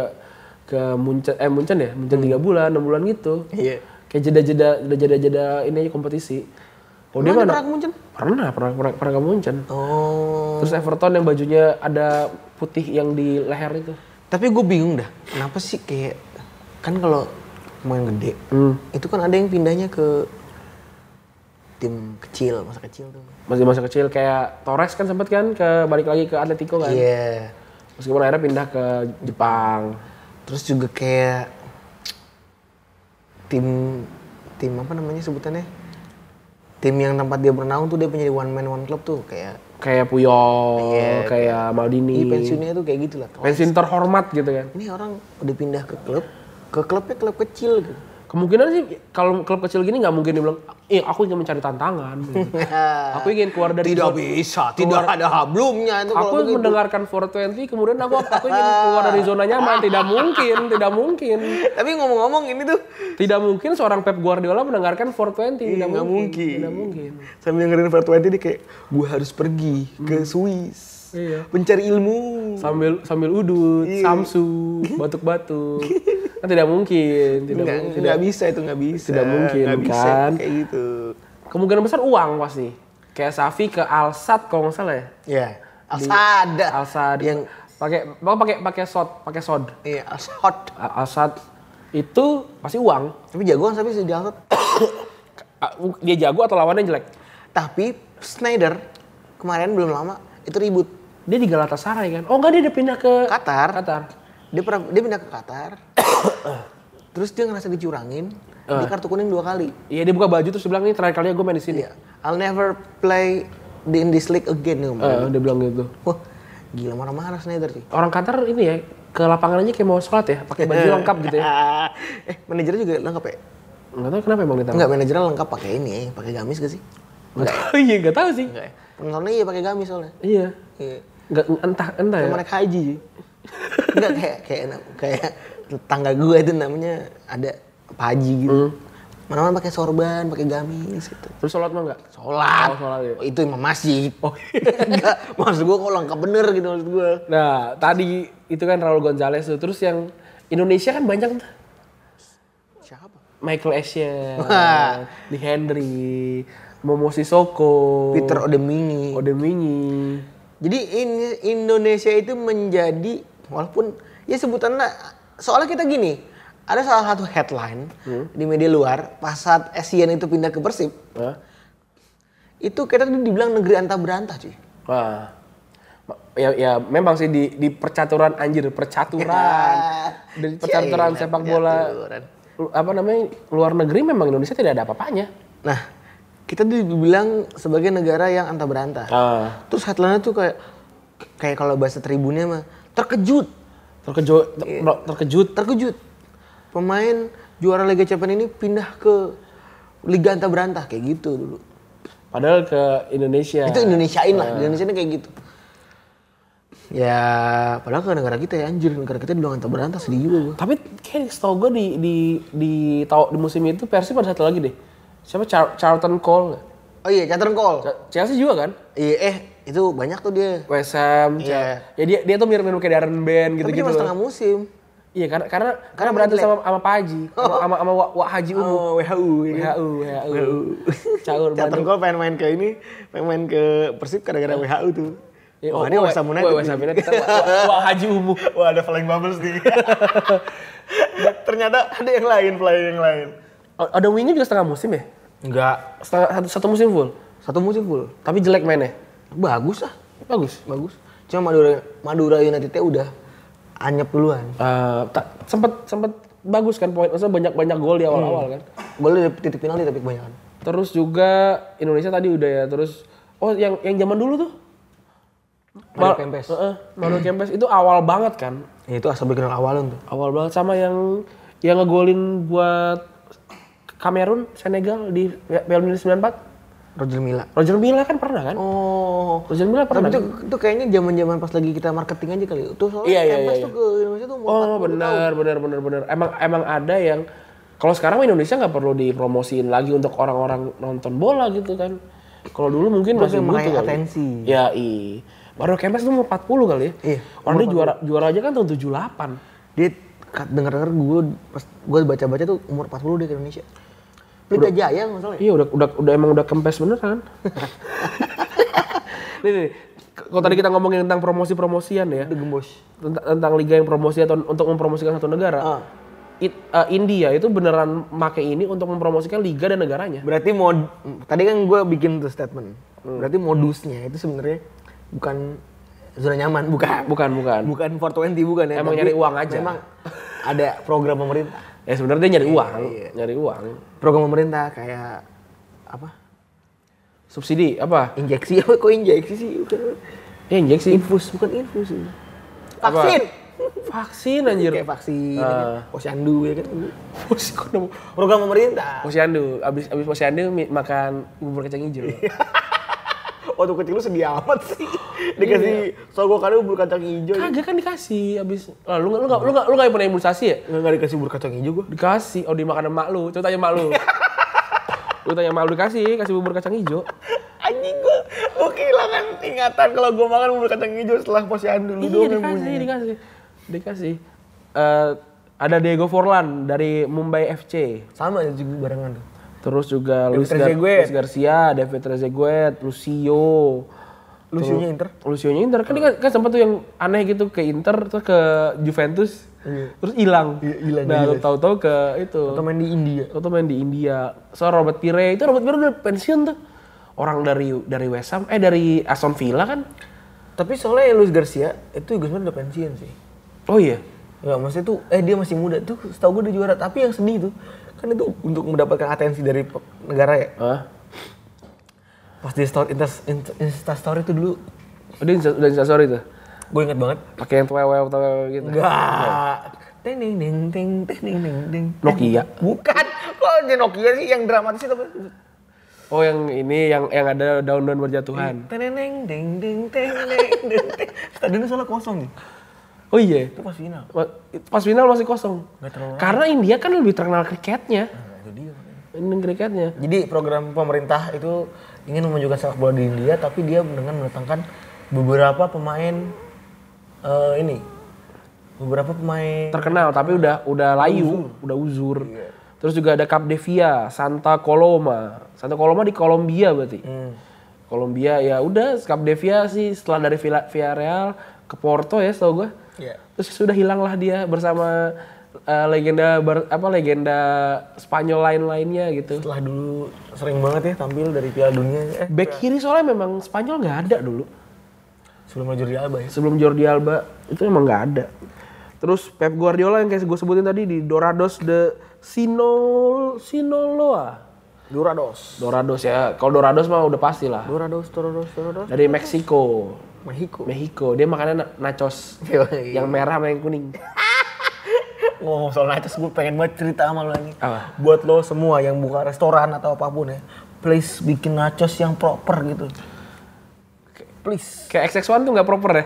Speaker 2: ke Munchen eh Munchen ya, Munchen 3 bulan, 6 bulan gitu.
Speaker 3: Hmm. Iya.
Speaker 2: Kayak jeda-jeda jeda-jeda ini aja kompetisi. Oh, dia
Speaker 3: Emang
Speaker 2: mana?
Speaker 3: pernah ke Munchen?
Speaker 2: Pernah, pernah pernah pernah ke Munchen.
Speaker 3: Oh.
Speaker 2: Terus Everton yang bajunya ada putih yang di leher itu.
Speaker 3: Tapi gue bingung dah, kenapa sih kayak kan kalau pemain gede, itu kan ada yang pindahnya ke tim kecil, masa kecil tuh.
Speaker 2: Masih masa kecil kayak Torres kan sempat kan ke balik lagi ke Atletico kan.
Speaker 3: Iya.
Speaker 2: Meskipun akhirnya pindah ke Jepang.
Speaker 3: Terus juga kayak tim tim apa namanya sebutannya? Tim yang tempat dia bernaung tuh dia punya di one man one club tuh kayak
Speaker 2: Kayak Puyol,
Speaker 3: Iya.
Speaker 2: kayak Maldini.
Speaker 3: di pensiunnya tuh kayak gitu lah. Kalau
Speaker 2: pensiun terhormat gitu kan.
Speaker 3: Ini orang udah pindah ke klub, ke klubnya klub kecil gitu.
Speaker 2: Kemungkinan sih kalau klub kecil gini nggak mungkin dibilang, eh aku ingin mencari tantangan. gitu. aku ingin keluar dari
Speaker 3: Tidak
Speaker 2: zona-
Speaker 3: bisa, tidak ada hablumnya itu
Speaker 2: Aku
Speaker 3: kalau begitu.
Speaker 2: mendengarkan 420, kemudian aku aku ingin keluar dari zona nyaman. Tidak mungkin, tidak mungkin,
Speaker 3: Tapi ngomong-ngomong ini tuh
Speaker 2: tidak mungkin seorang Pep Guardiola mendengarkan 420. Tidak
Speaker 3: Iya, nggak mungkin.
Speaker 2: Tidak mungkin. Hmm.
Speaker 3: Sambil dengerin Fat dia kayak gue harus pergi ke Swiss
Speaker 2: Iya.
Speaker 3: mencari ilmu.
Speaker 2: Sambil sambil udut,
Speaker 3: Iya.
Speaker 2: samsu, batuk-batuk. kan tidak mungkin, tidak
Speaker 3: Nggak,
Speaker 2: mungkin.
Speaker 3: nggak bisa itu nggak bisa.
Speaker 2: Tidak mungkin,
Speaker 3: Nggak bisa,
Speaker 2: kan?
Speaker 3: Kayak gitu.
Speaker 2: Kemungkinan besar uang pasti. Kayak Safi ke Alsat kalau nggak salah ya.
Speaker 3: Ya. Asada.
Speaker 2: Alsat
Speaker 3: Yang
Speaker 2: yang pakai mau pakai pakai sod, pakai sod.
Speaker 3: iya, Asad.
Speaker 2: Al- Alsat itu pasti uang.
Speaker 3: Tapi jagoan tapi sih di Al-Sadd.
Speaker 2: A- Dia jago atau lawannya jelek.
Speaker 3: tapi Snyder kemarin belum lama itu ribut.
Speaker 2: Dia di Galatasaray kan. Oh enggak dia udah pindah ke
Speaker 3: Qatar.
Speaker 2: Qatar.
Speaker 3: Dia pernah dia pindah ke Qatar. terus dia ngerasa dicurangin.
Speaker 2: Ah.
Speaker 3: Dia kartu kuning dua kali.
Speaker 2: Iya dia buka baju terus dia bilang ini terakhir kalinya gue main di sini.
Speaker 3: Iya. I'll never play in this league again. dia ngomong.
Speaker 2: Eh, dia bilang gitu.
Speaker 3: Wah, gila marah-marah Snyder sih.
Speaker 2: Orang Qatar ini ya ke lapangan aja kayak mau sholat ya, pakai baju lengkap gitu ya.
Speaker 3: eh, manajernya juga lengkap ya?
Speaker 2: Enggak tahu kenapa emang kita.
Speaker 3: Enggak, manajernya lengkap pakai ini, pakai gamis gak sih? ya?
Speaker 2: Iya enggak tahu sih.
Speaker 3: Penontonnya iya pakai gamis soalnya.
Speaker 2: Iya.
Speaker 3: Iya.
Speaker 2: Enggak entah entah ya.
Speaker 3: Cuma naik haji. Enggak kayak kayak kayak tetangga gue itu namanya ada Pak Haji gitu.
Speaker 2: Hmm.
Speaker 3: Mana-mana pakai sorban, pakai gamis gitu.
Speaker 2: Terus sholat mah enggak?
Speaker 3: Sholat.
Speaker 2: Oh, sholat ya.
Speaker 3: itu imam masjid. Oh. Enggak, maksud gue kok lengkap bener gitu maksud gue.
Speaker 2: Nah, tadi itu kan Raul Gonzalez tuh. Terus yang Indonesia kan banyak tuh.
Speaker 3: Siapa?
Speaker 2: Michael Essien,
Speaker 3: Wah.
Speaker 2: Lee Henry, Momo Sissoko,
Speaker 3: Peter Odemini.
Speaker 2: Odeminyi.
Speaker 3: Jadi in- Indonesia itu menjadi walaupun ya sebutannya soalnya kita gini, ada salah satu headline
Speaker 2: Hmm.
Speaker 3: di media luar pas saat Asian itu pindah ke Persib,
Speaker 2: Hah?
Speaker 3: itu kita tuh dibilang negeri antah berantah cuy.
Speaker 2: Wah. Ma- Ya, ya memang sih di, di percaturan anjir, percaturan.
Speaker 3: Ya,
Speaker 2: Di percaturan
Speaker 3: Cina,
Speaker 2: sepak bola
Speaker 3: percaturan.
Speaker 2: lu- apa namanya luar negeri memang Indonesia tidak ada apa-apanya.
Speaker 3: Nah, kita tuh dibilang sebagai negara yang antah berantah.
Speaker 2: Ah.
Speaker 3: Terus headline-nya tuh kayak kayak kalau bahasa tribunnya mah terkejut,
Speaker 2: Terkejut, ter-
Speaker 3: Iya.
Speaker 2: terkejut.
Speaker 3: terkejut. Pemain juara Liga Champions ini pindah ke Liga antah berantah kayak gitu dulu.
Speaker 2: Padahal ke Indonesia.
Speaker 3: Itu Indonesiain lah, Indonesia ini kayak gitu. Ya, padahal ke negara kita ya anjir, negara kita dibilang antah berantah sedih juga gua.
Speaker 2: Tapi kayak setahu gue di di di tau- di musim itu Persib ada satu lagi deh. Siapa Char- Charlton Cole? nggak?
Speaker 3: Oh iya, Catherine Cole.
Speaker 2: Ch- Chelsea juga kan?
Speaker 3: Iya, eh itu banyak tuh dia.
Speaker 2: West Ham. Ch-
Speaker 3: Iya.
Speaker 2: Ya dia dia tuh mirip-mirip kayak Darren Band
Speaker 3: Tapi
Speaker 2: gitu-gitu.
Speaker 3: cuma
Speaker 2: loh.
Speaker 3: setengah musim.
Speaker 2: Iya karena karena Oh. karena
Speaker 3: main
Speaker 2: berantem
Speaker 3: jelek.
Speaker 2: sama sama Pak Haji, sama sama, sama Wak, Wak Haji Umu.
Speaker 3: Oh, WHU. ya.
Speaker 2: WHU, WHU. Caur
Speaker 3: Catherine
Speaker 2: berantem.
Speaker 3: Cole pengen main ke ini, pengen main ke Persib gara-gara WHU tuh.
Speaker 2: Ya,
Speaker 3: Wah, ini
Speaker 2: Wak-
Speaker 3: oh, West Ham
Speaker 2: Wak-
Speaker 3: United.
Speaker 2: West Ham
Speaker 3: nih.
Speaker 2: United, Wak- Wak- Wak Haji Umu.
Speaker 3: Wah, ada flying bubbles nih. Ternyata ada yang lain, flying yang lain.
Speaker 2: O- Ada wingnya juga setengah musim ya?
Speaker 3: Enggak.
Speaker 2: Setengah satu, satu musim full.
Speaker 3: Satu musim full.
Speaker 2: Tapi jelek mainnya.
Speaker 3: Bagus lah.
Speaker 2: Bagus.
Speaker 3: bagus. Cuma Madura Madura United udah anyep duluan.
Speaker 2: Eh, tak sempet sempet bagus kan poin. Maksudnya banyak-banyak gol di awal-awal kan.
Speaker 3: Gol dari titik penalti tapi kebanyakan.
Speaker 2: Terus juga Indonesia tadi udah ya, terus oh yang yang zaman dulu tuh
Speaker 3: Mario
Speaker 2: Mal-
Speaker 3: Kempes.
Speaker 2: Heeh, Mario Kempes itu awal banget kan.
Speaker 3: Ya, itu asal bikin awalan tuh.
Speaker 2: Awal banget sama yang yang ngegolin buat Kamerun, Senegal di Piala Dunia 94.
Speaker 3: Roger Mila.
Speaker 2: Roger Milla kan pernah kan?
Speaker 3: Oh.
Speaker 2: Roger Milla
Speaker 3: Tapi
Speaker 2: pernah.
Speaker 3: itu,
Speaker 2: kan?
Speaker 3: itu kayaknya zaman-zaman pas lagi kita marketing aja kali. Itu soalnya
Speaker 2: Iya, iya,
Speaker 3: Kempes
Speaker 2: iya,
Speaker 3: tuh ke Indonesia tuh umur
Speaker 2: Oh
Speaker 3: 40 tahun.
Speaker 2: benar benar benar benar. Emang emang ada yang kalau sekarang Indonesia nggak perlu dipromosiin lagi untuk orang-orang nonton bola gitu kan. Kalau dulu mungkin
Speaker 3: Berarti
Speaker 2: masih
Speaker 3: meraih
Speaker 2: butuh kali.
Speaker 3: atensi.
Speaker 2: Ya i. Baru Kempes tuh umur 40 kali ya.
Speaker 3: Iya,
Speaker 2: Orang dia juara juara aja kan tahun 78.
Speaker 3: Dia kat- denger-denger gue pas gue baca-baca tuh umur 40 dia ke Indonesia. Pelita Jaya ya? masalahnya.
Speaker 2: Iya udah udah udah emang udah Kempes beneran. nih, nih, nih. kalau tadi kita ngomongin tentang promosi-promosian ya.
Speaker 3: The Gembos.
Speaker 2: tentang, tentang liga yang promosi atau untuk mempromosikan satu negara.
Speaker 3: Ah.
Speaker 2: It- eh, India itu beneran make ini untuk mempromosikan liga dan negaranya.
Speaker 3: Berarti mod tadi kan gue bikin tuh statement.
Speaker 2: Hmm.
Speaker 3: Berarti modusnya itu sebenarnya bukan zona nyaman, bukan.
Speaker 2: Bukan, bukan.
Speaker 3: Bukan 420 bukan ya.
Speaker 2: Emang
Speaker 3: tapi
Speaker 2: nyari uang aja.
Speaker 3: Memang ada program pemerintah.
Speaker 2: Ya sebenarnya dia nyari uang,
Speaker 3: iya.
Speaker 2: nyari uang.
Speaker 3: Program pemerintah kayak apa?
Speaker 2: Subsidi apa?
Speaker 3: Injeksi apa kok injeksi sih? Bukan.
Speaker 2: Ya injeksi
Speaker 3: Infus bukan infus.
Speaker 2: Apa?
Speaker 3: Vaksin.
Speaker 2: vaksin anjir.
Speaker 3: Kayak vaksin,
Speaker 2: Ah.
Speaker 3: ya kan? posyandu ya kan.
Speaker 2: Vaksin.
Speaker 3: Program pemerintah.
Speaker 2: Posyandu, abis abis posyandu mi- makan bubur kacang hijau.
Speaker 3: Waktu kecil lu sedih amat sih. Dikasih sogokannya bubur kacang hijau. ya.
Speaker 2: Kagak kan dikasih abis. Ah, lu nggak lu nggak lu nggak lu nggak pernah imunisasi ya?
Speaker 3: Nggak nggak dikasih bubur kacang hijau gua.
Speaker 2: Dikasih, oh dimakan sama emak lu. Coba tanya emak lu. lu tanya emak lu dikasih, kasih bubur kacang hijau.
Speaker 3: Anjing gua, gua kehilangan ingatan kalau gua makan bubur kacang hijau setelah posyandu lu
Speaker 2: Iya
Speaker 3: doang yang
Speaker 2: dikasih,
Speaker 3: bunyi.
Speaker 2: dikasih, dikasih. Eh, ada Diego Forlan dari Mumbai FC.
Speaker 3: Sama aja juga barengan tuh.
Speaker 2: Terus juga
Speaker 3: David
Speaker 2: Luis, Gar-
Speaker 3: Trezeguet.
Speaker 2: Luis Garcia, David Trezeguet, Lucio.
Speaker 3: Lucio-nya
Speaker 2: Terus-
Speaker 3: Inter?
Speaker 2: Lucio-nya Inter. Kan, dia kan, kan sempat tuh yang aneh gitu ke Inter, terus ke Juventus. Terus hilang.
Speaker 3: Iya, hilang,
Speaker 2: Nah,
Speaker 3: hilang.
Speaker 2: tahu-tahu ke itu.
Speaker 3: Atau main di India.
Speaker 2: Tahu-tahu main di India. So Robert Pire, itu Robert Pire udah pensiun tuh. Orang dari dari West Ham, eh dari Aston Villa kan?
Speaker 3: Tapi soalnya Luis Garcia itu juga sebenarnya udah pensiun sih.
Speaker 2: Oh iya.
Speaker 3: Enggak, maksudnya tuh eh dia masih muda tuh, setahu gua dia juara, tapi yang sedih tuh kan itu untuk mendapatkan atensi dari pe- negara ya.
Speaker 2: Hah?
Speaker 3: Pas di story insta, insta, Insta story itu dulu
Speaker 2: Udah Insta- udah instastory tuh.
Speaker 3: gua inget banget.
Speaker 2: pakai yang twewew twewew gitu
Speaker 3: Enggak. Ting ting ting ting ting ting ting ting.
Speaker 2: Nokia.
Speaker 3: Bukan. Kok jadi Nokia sih yang dramatis itu apa?
Speaker 2: oh yang ini yang yang ada daun daun berjatuhan
Speaker 3: Teneneng ding ding teneneng ding ding. Stadionnya soalnya kosong. ya.
Speaker 2: Oh iya.
Speaker 5: Itu pas final.
Speaker 2: Ma- Pas final masih kosong.
Speaker 5: Nggak terlalu lama.
Speaker 2: Karena India kan lebih terkenal kriketnya.
Speaker 5: Nah, itu
Speaker 3: ya,
Speaker 5: dia.
Speaker 2: Ini kriketnya.
Speaker 5: Jadi program pemerintah itu ingin memajukan sepak bola di India, tapi dia dengan mendatangkan beberapa pemain eh, ini, beberapa pemain
Speaker 2: Terkenal tapi udah udah layu, udah uzur. Terus juga ada Cap Devia, Santa Coloma. Santa Coloma di Kolombia berarti.
Speaker 5: hmm,
Speaker 2: Kolombia ya udah Cap Devia sih setelah dari Villa- Villarreal ke Porto ya setahu gua.
Speaker 5: Iya.
Speaker 2: Terus sudah hilanglah dia bersama eh, legenda bar- apa legenda Spanyol lain-lainnya gitu.
Speaker 5: setelah dulu sering banget ya tampil dari Piala Dunia. Eh,
Speaker 2: Back kiri soalnya memang Spanyol nggak ada dulu.
Speaker 5: sebelum Jordi Alba ya.
Speaker 2: Sebelum Jordi Alba itu emang nggak ada. Terus Pep Guardiola yang kayak gue sebutin tadi di Dorados de Sinol Sinoloa.
Speaker 5: Durados.
Speaker 2: Dorados ya. Kalau Dorados mah udah pasti lah.
Speaker 5: Durados, Durados, Durados.
Speaker 2: Dari Meksiko.
Speaker 5: Mexico.
Speaker 2: Mexico. Dia makannya na- nachos.
Speaker 5: Yoi.
Speaker 2: yang merah sama yang kuning.
Speaker 5: Ngomong soal nachos, gue pengen banget cerita sama lo ini.
Speaker 2: Apa?
Speaker 5: Buat lo semua yang buka restoran atau apapun ya, please bikin nachos yang proper gitu. Please.
Speaker 2: Kayak XX1 tuh nggak proper ya.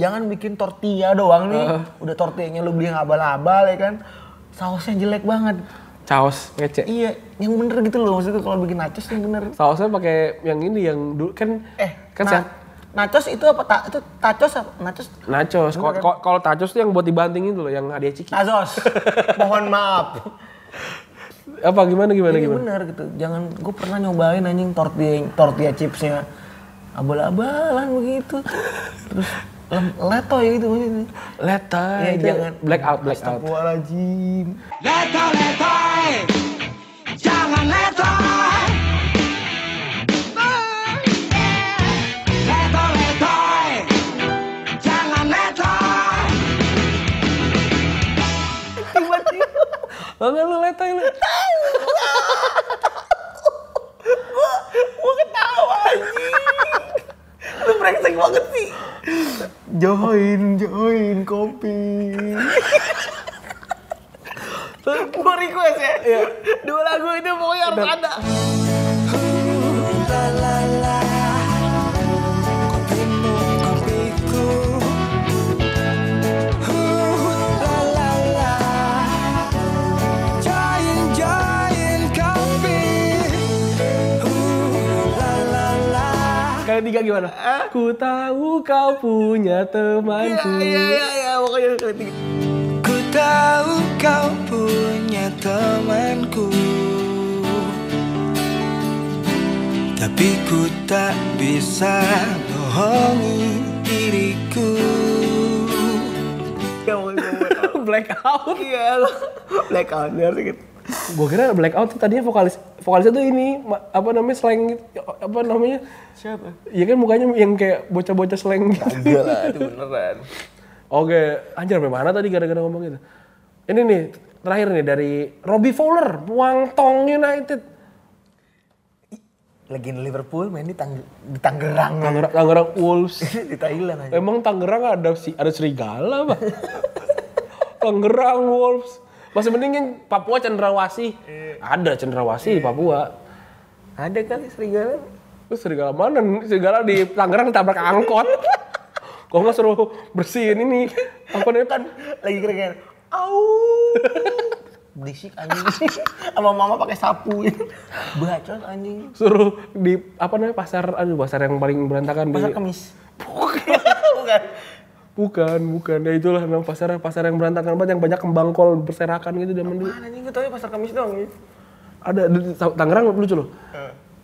Speaker 5: Jangan bikin tortilla doang nih. Udah tortillanya lu beli yang abal-abal ya kan. Sausnya jelek banget.
Speaker 2: Caos ngecek.
Speaker 5: Iya, yang bener gitu loh. Maksudnya kalau bikin nachos yang bener.
Speaker 2: Sausnya pakai yang ini yang dulu kan
Speaker 5: Eh,
Speaker 2: kan
Speaker 5: na-
Speaker 2: siang-
Speaker 5: nachos itu apa? Ta- itu tacos apa? Nachos?
Speaker 2: nachos. Kalau-
Speaker 5: kan?
Speaker 2: Kalau kalau tacos tuh yang buat dibanting itu loh yang hadiah ciki.
Speaker 5: Tazos. Mohon maaf.
Speaker 2: Apa gimana gimana
Speaker 5: Ini
Speaker 2: gimana?
Speaker 5: bener gitu. Jangan, gue pernah nyobain anjing tortilla, tortilla chipsnya abal-abalan begitu. Terus lem- letoy gitu maksudnya.
Speaker 2: Leta,
Speaker 5: Ya,
Speaker 2: itu
Speaker 5: jangan.
Speaker 2: black out, black out.
Speaker 5: Astagfirullahaladzim.
Speaker 2: Lo nggak lu letoy lu?
Speaker 5: Gue ketawa anjing. Lu brengsek banget sih. Join, join kopi. Gue request ya. Dua lagu itu pokoknya harus ada.
Speaker 2: Kalian tiga gimana? Ku tahu kau punya temanku.
Speaker 5: Iya, iya, iya, pokoknya harus ada.
Speaker 4: Ku tahu kau punya temanku Tapi ku tak bisa bohongi diriku
Speaker 5: Ya, pokoknya gua mau tahu.
Speaker 2: Black out.
Speaker 5: Iya, lo. blackout ya gitu.
Speaker 2: Gue kira black out tuh tadinya vokalis vokalisnya tuh ini ma- apa namanya slang gitu. apa namanya?
Speaker 5: Siapa?
Speaker 2: Ya kan mukanya yang kayak bocah-bocah slang gitu.
Speaker 5: Enggak lah, itu beneran.
Speaker 2: Oke, anjir sampai mana tadi gara-gara ngomong gitu. Ini nih terakhir nih dari Robbie Fowler, Wangtong United.
Speaker 5: Legenda Liverpool main di, Tang- di Tangerang,
Speaker 2: Tangerang, Tangerang Wolves.
Speaker 5: di Thailand aja.
Speaker 2: Emang Tangerang ada si ada serigala, Pak. Tangerang Wolves. Masih mending kan Papua Cendrawasih. Ada Cendrawasih di Papua.
Speaker 5: Iya. Ada kali serigala.
Speaker 2: Terus serigala mana? Serigala di Tangerang ditabrak angkot. Kok nggak suruh bersihin ini? Apa namanya? Kan Pan?
Speaker 5: lagi keren au berisik anjing sama mama pakai sapu bacot anjing
Speaker 2: Suruh di apa namanya pasar aduh pasar yang paling berantakan
Speaker 5: pasar
Speaker 2: di
Speaker 5: kemis bukan Iya. bukan
Speaker 2: bukan bukan ya itulah memang pasar pasar yang berantakan banget yang banyak kembang kol berserakan gitu zaman dulu
Speaker 5: Apaan, anjing gue tau pasar kemis doang ya.
Speaker 2: ada di Ta- Tangerang lucu loh.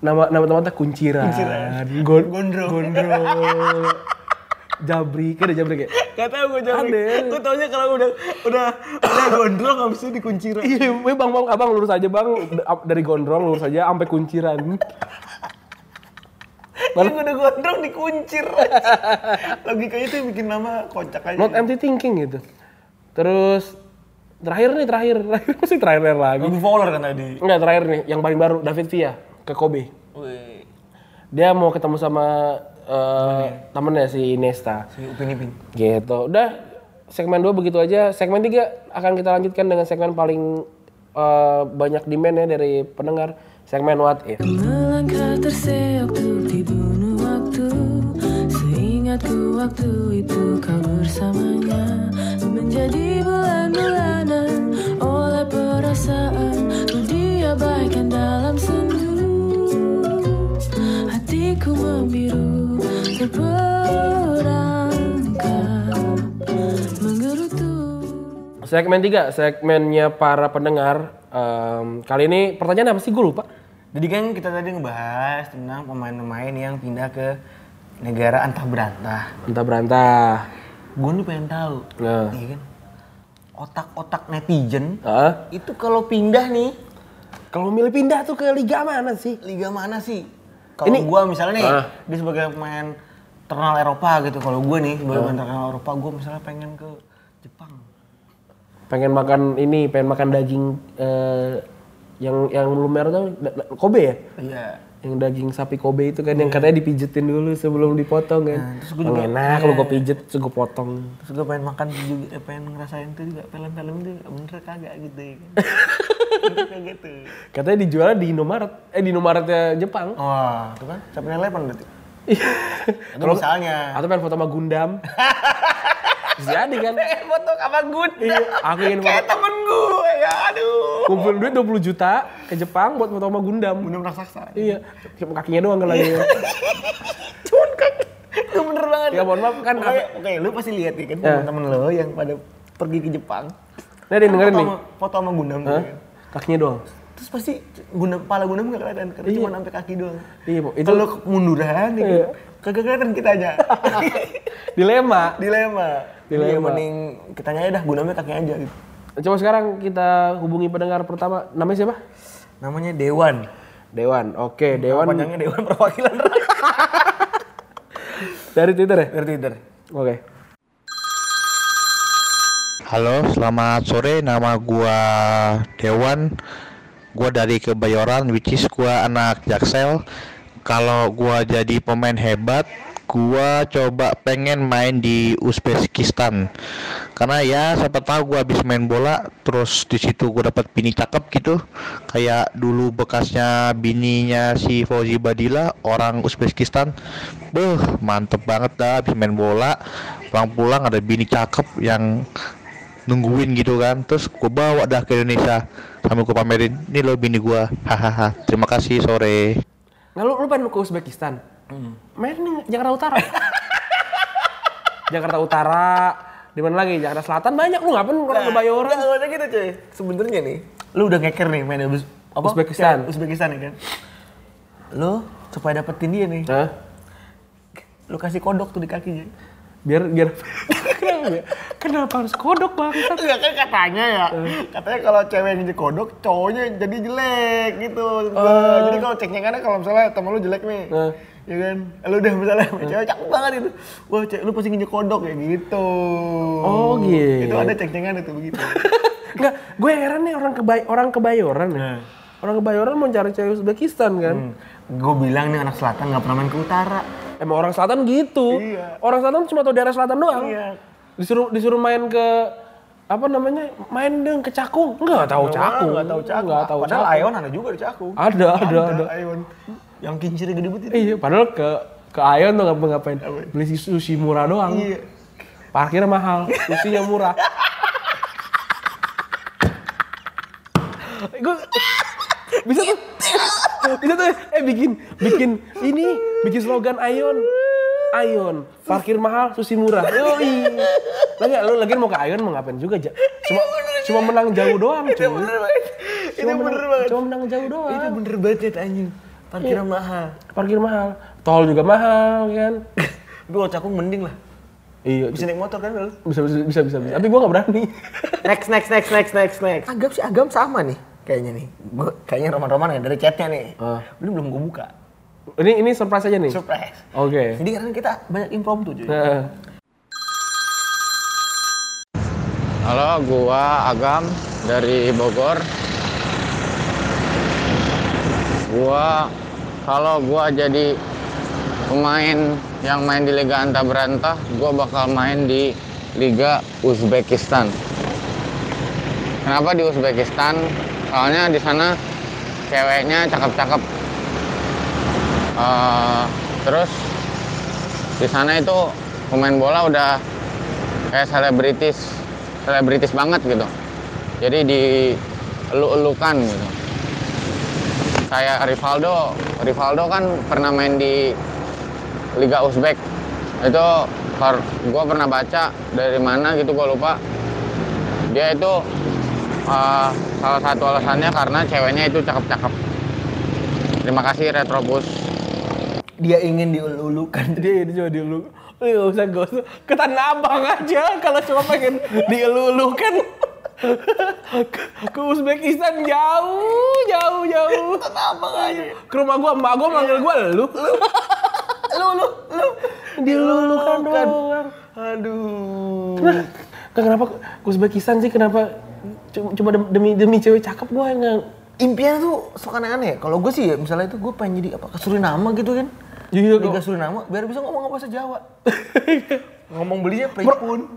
Speaker 2: Nama nama tempatnya Kunciran.
Speaker 5: Kunciran.
Speaker 2: Gon-
Speaker 5: Gondrong.
Speaker 2: Gondrong. Jabrik, ada Jabrik ya?
Speaker 5: Gak tau gue jamin.
Speaker 2: Ada.
Speaker 5: Gue taunya kalau udah udah udah gondrong habis itu dikunci Ren.
Speaker 2: Iya, weh, bang, bang, abang lurus aja bang, D- ap- dari Gondrong lurus aja sampai Kunciran.
Speaker 5: Yang udah gondrong dikuncir. Logikanya itu yang bikin nama kocak aja.
Speaker 2: Not empty thinking gitu. Terus terakhir nih terakhir, terakhir masih terakhir lagi.
Speaker 5: Lagi follower kan tadi.
Speaker 2: Enggak terakhir nih, yang paling baru David Villa ke Kobe.
Speaker 5: Wih,
Speaker 2: Dia mau ketemu sama eh, temennya si Nesta.
Speaker 5: si Upin Ipin.
Speaker 2: Gitu. Udah segmen 2 begitu aja. Segmen 3 akan kita lanjutkan dengan segmen paling eh, banyak demand ya dari pendengar. Segmen what if.
Speaker 6: Melangkah terseok untuk dibunuh waktu Seingat Ingatku waktu itu kau bersamanya Menjadi bulan-bulanan Oleh perasaan Ku diabaikan dalam sendu Hatiku membiru Terperangkap Menggerutu
Speaker 2: Segmen 3, segmennya para pendengar. Em, kali ini pertanyaan apa sih gue lupa?
Speaker 3: Jadi kan kita tadi ngebahas tentang pemain-pemain yang pindah ke negara antah berantah.
Speaker 2: Entah berantah.
Speaker 3: Gue nih pengen tahu,
Speaker 2: Nah. Ah.
Speaker 3: iya kan? Otak-otak netizen
Speaker 2: Heeh.
Speaker 3: itu kalau pindah nih
Speaker 2: Kalau milih pindah tuh ke liga mana sih?
Speaker 3: liga mana sih? Kalau
Speaker 2: Ini-
Speaker 3: gua misalnya nih,
Speaker 2: Ah.
Speaker 3: dia sebagai pemain terkenal Eropa gitu. Kalau gua nih sebagai
Speaker 2: Ah.
Speaker 3: pemain terkenal Eropa, gua misalnya pengen ke Jepang.
Speaker 2: Pengen makan ini, pengen makan daging eh, yang yang belum merah tau, da- da- Kobe ya?
Speaker 3: Iya.
Speaker 2: Yang daging sapi Kobe itu kan yang katanya dipijetin dulu sebelum dipotong kan.
Speaker 3: Nah, terus gua
Speaker 2: Emang
Speaker 3: juga-
Speaker 2: enak kalau gue pijet terus gue potong.
Speaker 3: Terus gua pengen makan juga, eh, pengen ngerasain tuh juga film-film itu bener kagak gitu ya kan. Bener gitu. kagak tuh.
Speaker 2: Katanya dijualnya di Indomaret. Eh di Indomaretnya Jepang.
Speaker 3: Wah, itu kan sampai nilai berarti. Atau
Speaker 2: Kalau-
Speaker 3: misalnya.
Speaker 2: Atau pengen foto sama Gundam. Bisa Jadi kan.
Speaker 3: Eh, foto sama gue.
Speaker 2: Iya, aku ingin
Speaker 3: Kayak
Speaker 2: foto-
Speaker 3: temen gue ya, aduh.
Speaker 2: kumpulin duit 20 juta ke Jepang buat foto sama Gundam.
Speaker 3: Bener raksasa.
Speaker 2: Iya, cuma kakinya doang kalau
Speaker 3: Iya.
Speaker 2: lagi.
Speaker 3: Cuman kan, itu bener banget.
Speaker 2: Ya, mohon maaf, kan-
Speaker 3: Oke, oke, lu pasti lihat ya kan temen-temen lo yang pada pergi ke Jepang.
Speaker 2: Nah, dia dengerin
Speaker 3: foto
Speaker 2: nih.
Speaker 3: Sama, foto sama Gundam tuh
Speaker 2: Hah?
Speaker 3: ya.
Speaker 2: Kakinya doang.
Speaker 3: Terus pasti Gundam, kepala Gundam gak kelihatan karena cuma sampai kaki doang.
Speaker 2: Iya, Bu, itu-
Speaker 3: Kalau lu kemunduran ya kan,
Speaker 2: Iya.
Speaker 3: kagak kelihatan kitanya.
Speaker 2: Dilema.
Speaker 3: Dilema.
Speaker 2: Dilema.
Speaker 3: Iya, mending kitanya aja dah Gundamnya kaki aja gitu.
Speaker 2: Coba sekarang kita hubungi pendengar pertama. Namanya siapa?
Speaker 3: Namanya Dewan.
Speaker 2: Dewan. Oke, Dewan
Speaker 3: Panjangnya Dewan Perwakilan Rakyat.
Speaker 2: dari Twitter ya?
Speaker 3: Dari Twitter.
Speaker 2: Oke.
Speaker 7: Halo, selamat sore. Nama gua Dewan. Gua dari Kebayoran, which is gua anak Jaksel. Kalau gua jadi pemain hebat, gua coba pengen main di Uzbekistan. Karena ya siapa tahu gua habis main bola, terus di situ gua dapat bini cakep gitu. Kayak dulu bekasnya bininya si Fauzi Badila, orang Uzbekistan. Beuh, mantep banget dah habis main bola. Pulang-pulang ada bini cakep yang nungguin gitu kan terus gue bawa dah ke Indonesia sambil gue pamerin ini loh bini gua hahaha terima kasih sore
Speaker 2: Nah, lu, lu pengen ke Uzbekistan?
Speaker 3: Hmm.
Speaker 2: Main di Jakarta Utara. Jakarta Utara, di mana lagi? Jakarta Selatan banyak. Lu ngapain orang kebayoran?
Speaker 3: Nggak, nggak gitu cuy. Nah, Sebenarnya nih, lu udah ngeker nih main di Uz apa?
Speaker 2: Uzbekistan.
Speaker 3: Ya, Uzbekistan ya kan. Lu supaya dapetin dia nih,
Speaker 2: Hah?
Speaker 3: lu kasih kodok tuh di kakinya.
Speaker 2: Biar biar kenapa, ya? kenapa harus kodok bang?
Speaker 3: Enggak kan katanya ya. Katanya kalau cewek yang jadi kodok, cowoknya jadi jelek gitu. Nah, Jadi kalau cengcengannya kalau misalnya temen lu jelek nih.
Speaker 2: Eh.
Speaker 3: Ya kan? Lu udah misalnya sama cewek cakep banget itu. Wah, cewek, lu pasti nginjek kodok ya gitu.
Speaker 2: Oh, gitu.
Speaker 3: Itu ada cengcengan itu begitu.
Speaker 2: Enggak, gue heran nih orang kebay orang kebayoran ya.
Speaker 3: Nah.
Speaker 2: Orang kebayoran mau cari cewek Uzbekistan kan.
Speaker 3: Gue bilang nih anak selatan nggak pernah main ke utara.
Speaker 2: Emang orang selatan gitu.
Speaker 3: Iya.
Speaker 2: Orang selatan cuma tahu daerah selatan doang.
Speaker 3: Iya.
Speaker 2: Disuruh disuruh main ke apa namanya? Main dong ke Cakung. Enggak tahu Cakung.
Speaker 3: Enggak tahu Cakung.
Speaker 2: Nggak tahu
Speaker 3: Padahal
Speaker 2: Cakung.
Speaker 3: Aeon ada juga di Cakung.
Speaker 2: Ada, ada, ada.
Speaker 3: Aeon. Yang kincirnya gede banget itu.
Speaker 2: Iya, padahal ke ke Ayon tuh ngapa ngapain? Beli sushi murah doang.
Speaker 3: Iya.
Speaker 2: Parkirnya mahal, sushi yang murah. Gue bisa tuh, bisa tuh, eh bikin, bikin ini, bikin slogan Ayon, Ayon, parkir mahal, sushi murah. Yoi. Lagi, lu lagi mau ke Ayon mau ngapain juga? Ja? Cuma, cuma menang jauh doang, cuy. Cuma
Speaker 3: Bener banget. Itu
Speaker 2: menang,
Speaker 3: bener banget.
Speaker 2: cuma menang jauh doang.
Speaker 3: Itu bener banget ya anjing. Parkiran mahal.
Speaker 2: Parkir mahal, tol juga mahal, kan?
Speaker 3: Tapi kalau Cakung mending lah.
Speaker 2: Iya,
Speaker 3: Bisa naik motor kan lu?
Speaker 2: bisa bisa bisa bisa, bisa. tapi gue gak berani
Speaker 3: Next, next, next, next, next, next. Agam sih Agam sama nih. Kayaknya nih. Gua, kayaknya roman-roman ya dari chatnya nih.
Speaker 2: Ah.
Speaker 3: Belum belum gue buka.
Speaker 2: ini ini surprise aja nih oke
Speaker 3: Surprise. Jadi karena kita banyak impromptu cuy.
Speaker 2: Heeh.
Speaker 8: Halo, gua Agam dari Bogor. Gua kalau gua jadi pemain yang main di Liga Anta Berantah, gua bakal main di Liga Uzbekistan. Kenapa di Uzbekistan? Soalnya di sana ceweknya cakep-cakep. Eh, terus Di sana itu pemain bola udah kayak selebritis, selebritis banget gitu. Jadi di elu-elukan gitu. Kayak Rivaldo, Rivaldo kan pernah main di Liga Uzbek. Itu gue pernah baca dari mana gitu gue lupa. Dia itu eh, salah satu alasannya karena ceweknya itu cakep-cakep. Terima kasih Retrobus.
Speaker 5: Dia ingin dielulukan.
Speaker 2: Dia ini cuma dielulukan. Lu Oh, iya, nggak usah gak usah. Ke Tanah Abang aja kalau cuma pengen dielulukan. Ke- ke Uzbekistan jauh, jauh, jauh. Tanah Abang aja. Ke rumah gua, emak gua manggil gua lu.
Speaker 5: Lu lu lu
Speaker 2: Dielulukan doang.
Speaker 5: Aduh.
Speaker 2: Nah, kenapa ke Uzbekistan sih? Kenapa cu- cuma dem- demi demi cewek cakep gua yang nggak-
Speaker 5: Impian tuh suka aneh-aneh. Kalau gue sih ya misalnya itu gue pengen jadi apa ke Suriname gitu kan.
Speaker 2: Iya,
Speaker 5: Liga
Speaker 2: kok.
Speaker 5: Suriname biar bisa ngomong bahasa Jawa. ngomong belinya pun.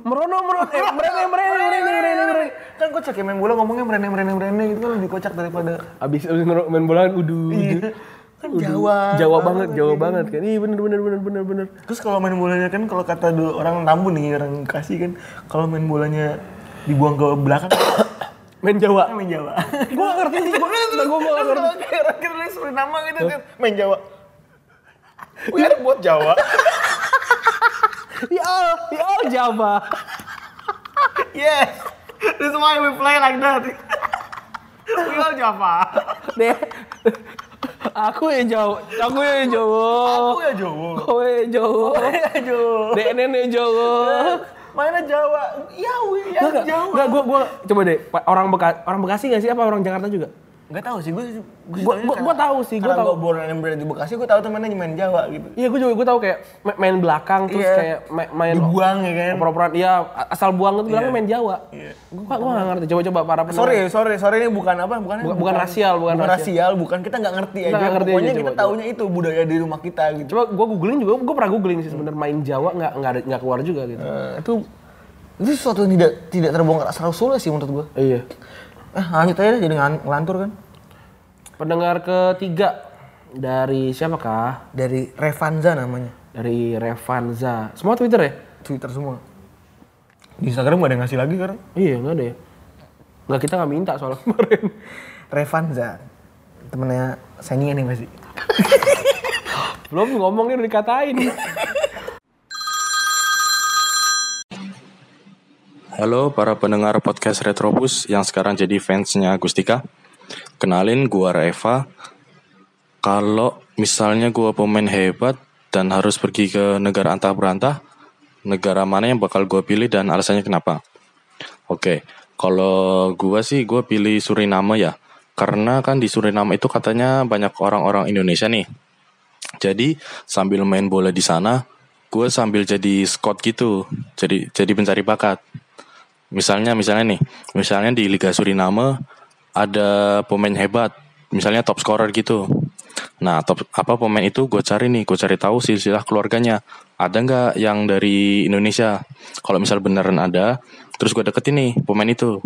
Speaker 2: merono merono eh, merene merene merene merene merene
Speaker 5: Kan kocak ya main bola ngomongnya merene merene merene gitu kan lebih kocak daripada
Speaker 2: abis abis ngero- main bola kan udu udu.
Speaker 3: Iya.
Speaker 5: kan
Speaker 2: Udu.
Speaker 5: Jawa.
Speaker 2: Jawa banget, Jawa banget kan. Iya bener bener bener bener bener.
Speaker 5: Terus kalau main bolanya kan kalau kata dulu orang Tambun nih orang Bekasi kan kalau main bolanya dibuang ke belakang kan
Speaker 2: Main Jawa.
Speaker 5: main Jawa.
Speaker 2: Gua gak ngerti sih, gua kan gua gua gak ngerti.
Speaker 5: Kira-kira Suriname gitu kan main Jawa. We
Speaker 2: Iya.
Speaker 5: are buat Jawa.
Speaker 2: We all, we all ya Jawa. Iya.
Speaker 5: Yes. This is why we play like that. We are Java.
Speaker 2: Deh. Aku ya Jawa, aku ya Jawa.
Speaker 5: Aku ya Jawa.
Speaker 2: Kowe ya Jawa.
Speaker 5: Iya, Aduh.
Speaker 2: Denen ya Jawa.
Speaker 5: Mana Jawa? Ya, we
Speaker 3: Eh,
Speaker 5: are
Speaker 2: Enggak,
Speaker 5: Jawa.
Speaker 2: enggak gua gua coba deh. pa- Orang Beka, orang Bekasi gak sih apa orang Jakarta juga?
Speaker 5: Enggak tahu sih gue.
Speaker 2: Gua- gua- gua tahu sih, gua tahu.
Speaker 5: Gue born and bred di Bekasi, gue tahu temennya main Jawa gitu.
Speaker 2: Iya, gue juga gue tahu kayak ma- main belakang terus
Speaker 5: Iya.
Speaker 2: kayak ma- main
Speaker 5: Dibuang ya kan.
Speaker 2: oper-operan. Iya, a- asal buang itu bilangnya
Speaker 5: Iya.
Speaker 2: main Jawa.
Speaker 5: Iya.
Speaker 2: Gua gua nggak ngerti. Coba-coba para pendengar.
Speaker 5: Sorry, sorry, sorry ini bukan apa? Bukan
Speaker 2: Bukan- bukan rasial, bukan
Speaker 5: rasial, bukan kita nggak ngerti
Speaker 2: Kita
Speaker 5: aja.
Speaker 2: nggak ngerti
Speaker 5: Pokoknya
Speaker 2: aja,
Speaker 5: kita
Speaker 2: coba,
Speaker 5: taunya itu budaya di rumah kita gitu.
Speaker 2: Coba gua googling juga, gua pernah googling sih sebenarnya main Jawa nggak nggak ada- nggak keluar juga gitu.
Speaker 5: Eh, itu itu sesuatu yang tidak tidak terbongkar asal usulnya sih menurut gua.
Speaker 2: Iya.
Speaker 5: Eh, lanjut aja jadi ngan- ngelantur kan.
Speaker 2: Pendengar ketiga dari siapakah?
Speaker 5: Dari Revanza namanya.
Speaker 2: Dari Revanza. Semua Twitter ya?
Speaker 5: Twitter semua. Di Instagram gak ada yang ngasih lagi sekarang.
Speaker 2: Iya, nggak ada ya. Nggak kita nggak minta soalnya kemarin.
Speaker 5: Revanza. Temennya Senia nih pasti.
Speaker 2: Belum ngomong nih udah dikatain.
Speaker 9: Halo para pendengar podcast Retrobus yang sekarang jadi fansnya Agustika. Kenalin gua Reva. Kalau misalnya gua pemain hebat dan harus pergi ke negara antah berantah, negara mana yang bakal gua pilih dan alasannya kenapa? Oke, kalau gua sih gua pilih Suriname ya. Karena kan di Suriname itu katanya banyak orang-orang Indonesia nih. Jadi sambil main bola di sana, gue sambil jadi scout gitu, jadi jadi pencari bakat. Misalnya misalnya nih, misalnya di Liga Suriname ada pemain hebat, misalnya top scorer gitu. Nah, top apa pemain itu gue cari nih, gue cari tahu silsilah keluarganya. Ada nggak yang dari Indonesia? Kalau misal beneran ada, terus gue deketin nih pemain itu.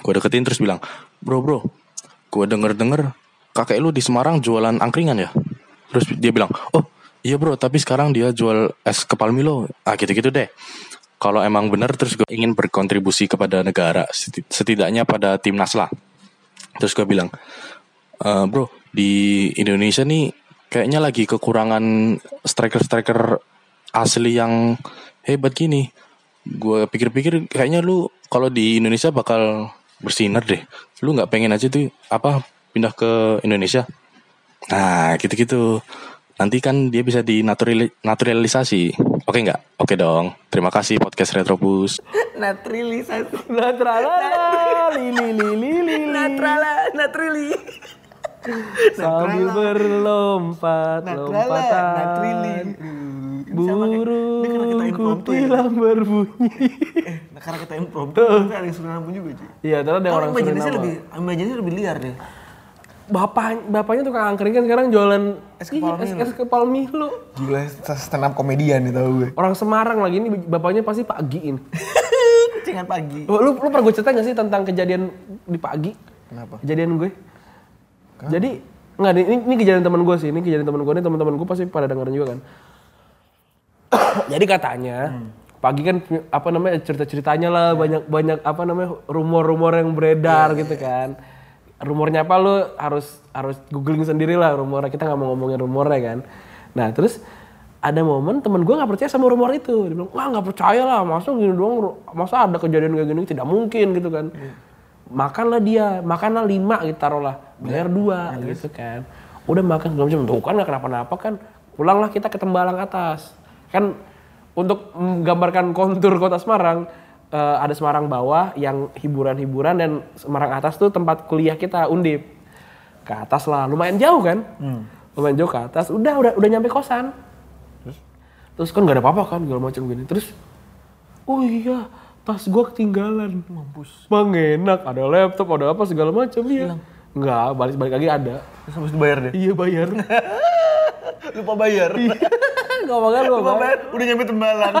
Speaker 9: Gue deketin terus bilang, bro bro, gue denger denger kakek lu di Semarang jualan angkringan ya. Terus dia bilang, oh iya bro, tapi sekarang dia jual es kepal Milo. Ah gitu-gitu deh. Kalau emang bener terus gue ingin berkontribusi kepada negara, seti- setidaknya pada timnas lah. Terus gue bilang, "Eh, bro di Indonesia nih kayaknya lagi kekurangan striker-striker asli yang hebat gini. Gue pikir-pikir kayaknya lu kalau di Indonesia bakal bersinar deh. Lu nggak pengen aja tuh apa pindah ke Indonesia? Nah, gitu-gitu. Nanti kan dia bisa dinaturali- naturalisasi. Oke nggak? Oke dong. Terima kasih podcast Retrobus.
Speaker 5: Natrilisasi.
Speaker 2: Natralala, li li li li li, li.
Speaker 5: Natrala, natrili.
Speaker 2: Sambil berlompat,
Speaker 5: Natrala, natrili.
Speaker 2: lompatan.
Speaker 5: Karena kita
Speaker 2: Burung
Speaker 5: impromptu ya.
Speaker 2: kutilang berbunyi.
Speaker 5: Nah, karena kita impromptu, ternyata ada yang Suriname juga cuy.
Speaker 2: Iya, ternyata ada
Speaker 5: Orang
Speaker 2: orang
Speaker 5: imajinasi
Speaker 2: Suriname.
Speaker 5: lebih, imajinasi lebih liar deh.
Speaker 2: Bapak, bapaknya tukang angkring kan sekarang jualan
Speaker 5: Es kepal
Speaker 2: Iya, es,
Speaker 5: Milo.
Speaker 2: es kepal Milo.
Speaker 5: Gila, stand up komedian nih tau gue.
Speaker 2: Orang Semarang lagi ini bapaknya pasti Pak Giin.
Speaker 5: Cingan pagi.
Speaker 2: Lu, lu pernah gue cerita gak sih tentang kejadian di Pak Gi?
Speaker 5: Kenapa?
Speaker 2: Kejadian gue. Jadi nggak ini, ini kejadian teman gue sih, ini kejadian teman gue ini teman-teman gue pasti pada dengerin juga kan. Jadi katanya pagi kan pu- apa namanya cerita-ceritanya lah banyak banyak apa namanya rumor-rumor yang beredar gitu kan. Rumornya apa lu harus harus googling sendiri lah rumornya kita nggak mau ngomongin rumornya kan. Nah terus ada momen temen gue nggak percaya sama rumor itu dia bilang wah nggak percaya lah masa gini doang ru- masa ada kejadian kayak gini tidak mungkin gitu kan makanlah dia makanlah lima gitu taruhlah bayar dua gitu kan udah makan segala macam tuh kan nggak kenapa-napa kan pulanglah kita ke Tembalang atas kan untuk menggambarkan kontur kota Semarang eh, ada Semarang bawah yang hiburan-hiburan dan Semarang atas tuh tempat kuliah kita undip ke atas lah lumayan jauh kan lumayan jauh ke atas udah udah udah nyampe kosan terus kan nggak ada apa-apa kan segala macam gini terus oh iya tas gua ketinggalan mampus bang enak ada laptop ada apa segala macam iya nggak balik balik lagi ada
Speaker 3: Terus habis dibayar deh.
Speaker 2: iya bayar
Speaker 3: Lupa bayar.
Speaker 5: Iya.
Speaker 2: Kan nggak bakal lu
Speaker 3: Lupa
Speaker 2: apa
Speaker 3: bayar, udah nyampe tembalan.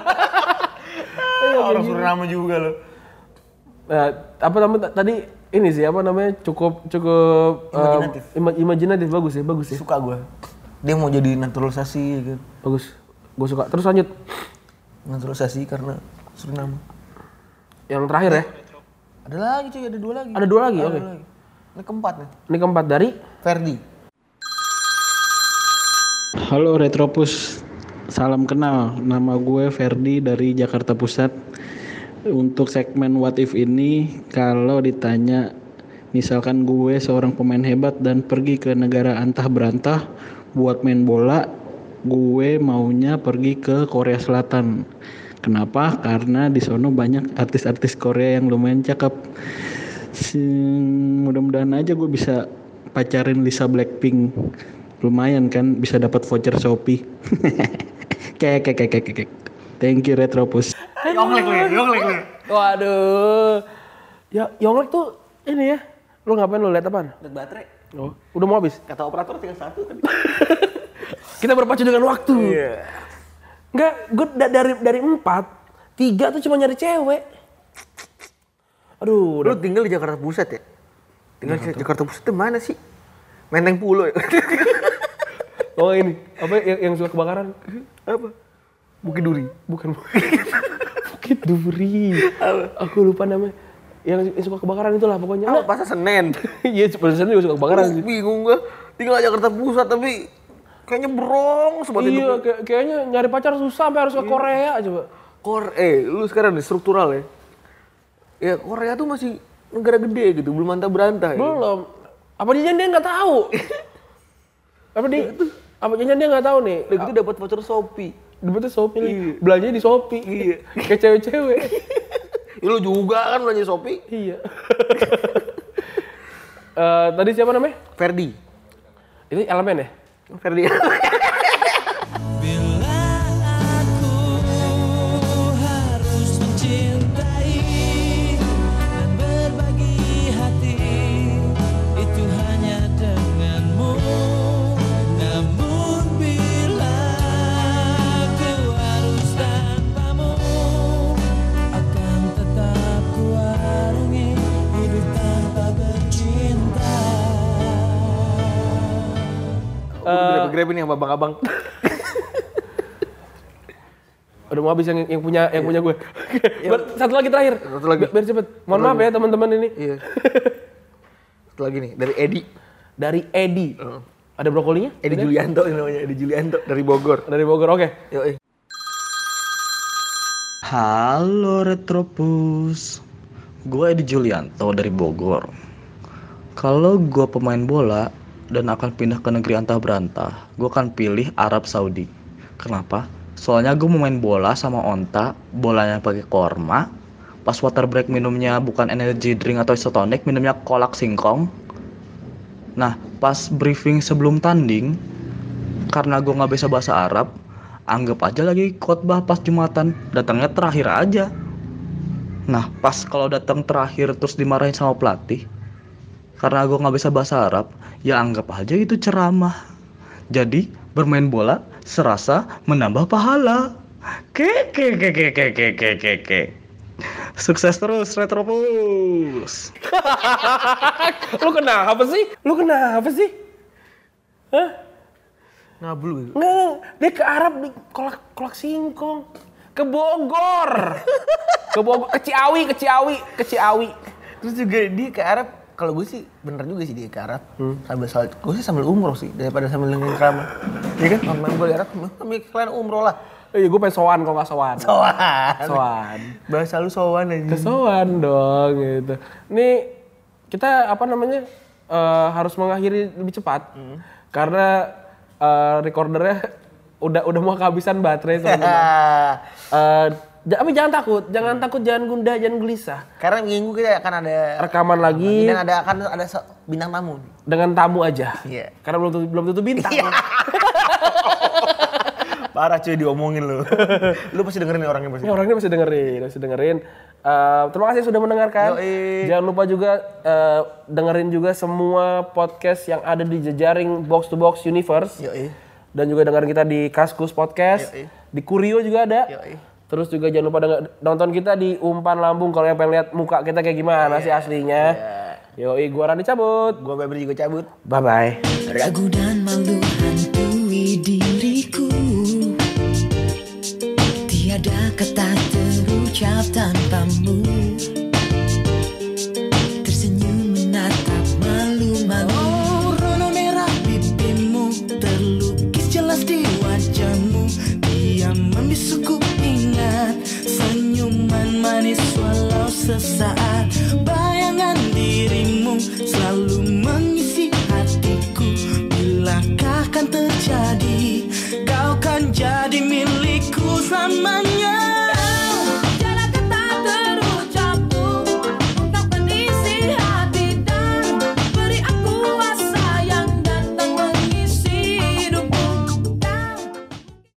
Speaker 5: Iya,
Speaker 3: Orang suruh nama juga lo.
Speaker 2: Nah, apa namanya t- tadi ini sih apa namanya cukup cukup eh,
Speaker 3: Imajinatif.
Speaker 2: ima- imajinatif bagus ya
Speaker 5: Iya.
Speaker 2: bagus ya
Speaker 3: Suka gue. Dia mau jadi naturalisasi gitu.
Speaker 2: bagus gue suka terus lanjut
Speaker 3: Naturalisasi karena suruh nama.
Speaker 2: yang terakhir ya
Speaker 3: Ada lagi cuy, ada dua lagi.
Speaker 2: Ada dua lagi, oke.
Speaker 3: Ini keempat nih.
Speaker 2: ini keempat dari
Speaker 3: Ferdi.
Speaker 10: Halo Retropus, salam kenal. Nama gue Ferdi dari Jakarta Pusat. Untuk segmen What If ini, kalau ditanya, misalkan gue seorang pemain hebat dan pergi ke negara antah berantah buat main bola, gue maunya pergi ke Korea Selatan. Kenapa? Karena di sono banyak artis-artis Korea yang lumayan cakep. Sing- Mudah-mudahan aja gue bisa pacarin Lisa Blackpink. Lumayan kan bisa dapat voucher Shopee. kek kek kek kek kek. Thank you Retropus.
Speaker 3: Yonglek le, yonglek le.
Speaker 2: waduh ya Yonglek tuh ini ya lu ngapain lu lihat apaan
Speaker 3: Lihat baterai.
Speaker 2: oh udah mau habis
Speaker 3: Kata operator tinggal satu kan.
Speaker 2: kita berpacu dengan waktu Enggak, gue da- dari dari empat, tiga tuh cuma nyari cewek. Aduh,
Speaker 3: Lu
Speaker 2: udah.
Speaker 3: tinggal di Jakarta Pusat ya? Tinggal di Jakarta Pusat itu mana sih? Menteng Pulo ya?
Speaker 2: Oh ini, apa yang, yang suka kebakaran?
Speaker 3: Apa? Bukit Duri.
Speaker 2: Bukan. Bukit Duri. Aku lupa namanya. Yang, yang suka kebakaran itulah pokoknya.
Speaker 3: Apa pasar Senen?
Speaker 2: Iya, sebenarnya juga suka kebakaran
Speaker 3: Aduh,
Speaker 2: sih.
Speaker 3: bingung gua. Tinggal di Jakarta Pusat tapi kayaknya berong sobat
Speaker 2: Iya,
Speaker 3: hidup.
Speaker 2: kayak- kayaknya nyari pacar susah sampai harus ke Korea coba.
Speaker 3: Korea, eh, lu sekarang nih struktural ya. Ya Korea tuh masih negara gede gitu, belum mantap berantah ya.
Speaker 2: Belum. Apa jajan dia nggak tahu? apa dia? Apa jajan dia nggak tahu nih?
Speaker 3: Udah gitu dapat voucher Shopee.
Speaker 2: Dapetnya Shopee
Speaker 3: Iya.
Speaker 2: lagi. Belanjanya di Shopee. Iya. Kayak cewek-cewek.
Speaker 3: Ya, lu juga kan belanja Shopee.
Speaker 2: iya. Eh, tadi siapa namanya?
Speaker 3: Ferdi.
Speaker 2: Itu elemen ya?
Speaker 3: Ferdi.
Speaker 2: Eh.
Speaker 3: Uh, Grab nih sama abang-abang.
Speaker 2: Udah mau habis yang, yang punya yang punya gue. Ber- Satu lagi terakhir.
Speaker 3: Iya. Satu lagi.
Speaker 2: Biar cepet. Mohon maaf ya teman-teman ini.
Speaker 3: Iya. Satu lagi nih dari Edi.
Speaker 2: Dari Edi. Ada brokolinya?
Speaker 5: Eh,
Speaker 3: Edi
Speaker 2: Ada?
Speaker 3: Julianto ini namanya, Edi Julianto dari Bogor.
Speaker 2: Dari Bogor, oke.
Speaker 3: Yo, eh.
Speaker 11: Halo Retropus Gue Edi Julianto dari Bogor Kalau gue pemain bola dan akan pindah ke negeri antah berantah Gue akan pilih Arab Saudi Kenapa? Soalnya gue mau main bola sama onta Bolanya pakai korma Pas water break minumnya bukan energy drink atau isotonik Minumnya kolak singkong Nah pas briefing sebelum tanding Karena gue nggak bisa bahasa Arab anggap aja lagi khotbah pas jumatan datangnya terakhir aja nah pas kalau datang terakhir terus dimarahin sama pelatih karena gue nggak bisa bahasa Arab ya anggap aja itu ceramah jadi bermain bola serasa menambah pahala keke keke keke keke keke sukses terus retropus
Speaker 2: Lu kenapa sih? Lu kenapa sih? Hah?
Speaker 5: Ngablu gitu.
Speaker 2: Nggak, nggak, dia ke Arab di kolak kolak singkong. Ke Bogor. ke Bogor, ke Ciawi, ke Ciawi, ke Ciawi.
Speaker 5: Terus juga dia ke Arab, kalau gue sih bener juga sih dia ke Arab. Sambil salat, gue sih sambil umroh sih daripada sambil nungguin keramat. Iya kan? Kalau main bola di Arab, mending kalian umroh lah.
Speaker 2: Eh, gue pengen sowan kalau nggak sowan.
Speaker 5: Sowan.
Speaker 2: Sowan.
Speaker 5: Bahasa lu sowan aja.
Speaker 2: Ke sowan dong gitu. Nih kita apa namanya eh, harus mengakhiri lebih cepat karena eh, recordernya udah udah mau kehabisan baterai teman-teman. Eh, ja- tapi jangan takut, jangan takut, jangan gundah, jangan gelisah.
Speaker 5: Karena minggu kita akan ada
Speaker 3: Ya.
Speaker 2: Rekaman lagi
Speaker 5: dan ada akan ada se- bintang tamu. nih.
Speaker 2: dengan tamu aja.
Speaker 5: Iya.
Speaker 2: Karena belum tentu, belum tentu bintang.
Speaker 5: Parah cuy diomongin lu. lu pasti dengerin nih orangnya pasti.
Speaker 2: Ini orangnya masih dengerin, masih dengerin. Eh, terima kasih sudah mendengarkan.
Speaker 5: Yoi.
Speaker 2: Jangan lupa juga eh, dengerin juga semua podcast yang ada di jejaring Box to Box Universe.
Speaker 5: Yoi.
Speaker 2: Dan juga dengerin kita di Kaskus Podcast,
Speaker 5: Yoi.
Speaker 2: di Kurio juga ada.
Speaker 5: Yoi.
Speaker 2: Terus juga jangan lupa denger- nonton kita di Umpan Lambung kalau yang pengen lihat muka kita kayak gimana
Speaker 5: Iya.
Speaker 2: sih aslinya. Yoi, gua Rani cabut.
Speaker 5: Gua Febri juga cabut.
Speaker 2: Bye bye.
Speaker 4: Ragu dan malu hantui diriku Tiada kata terucap
Speaker 6: Oh,
Speaker 4: tanpamu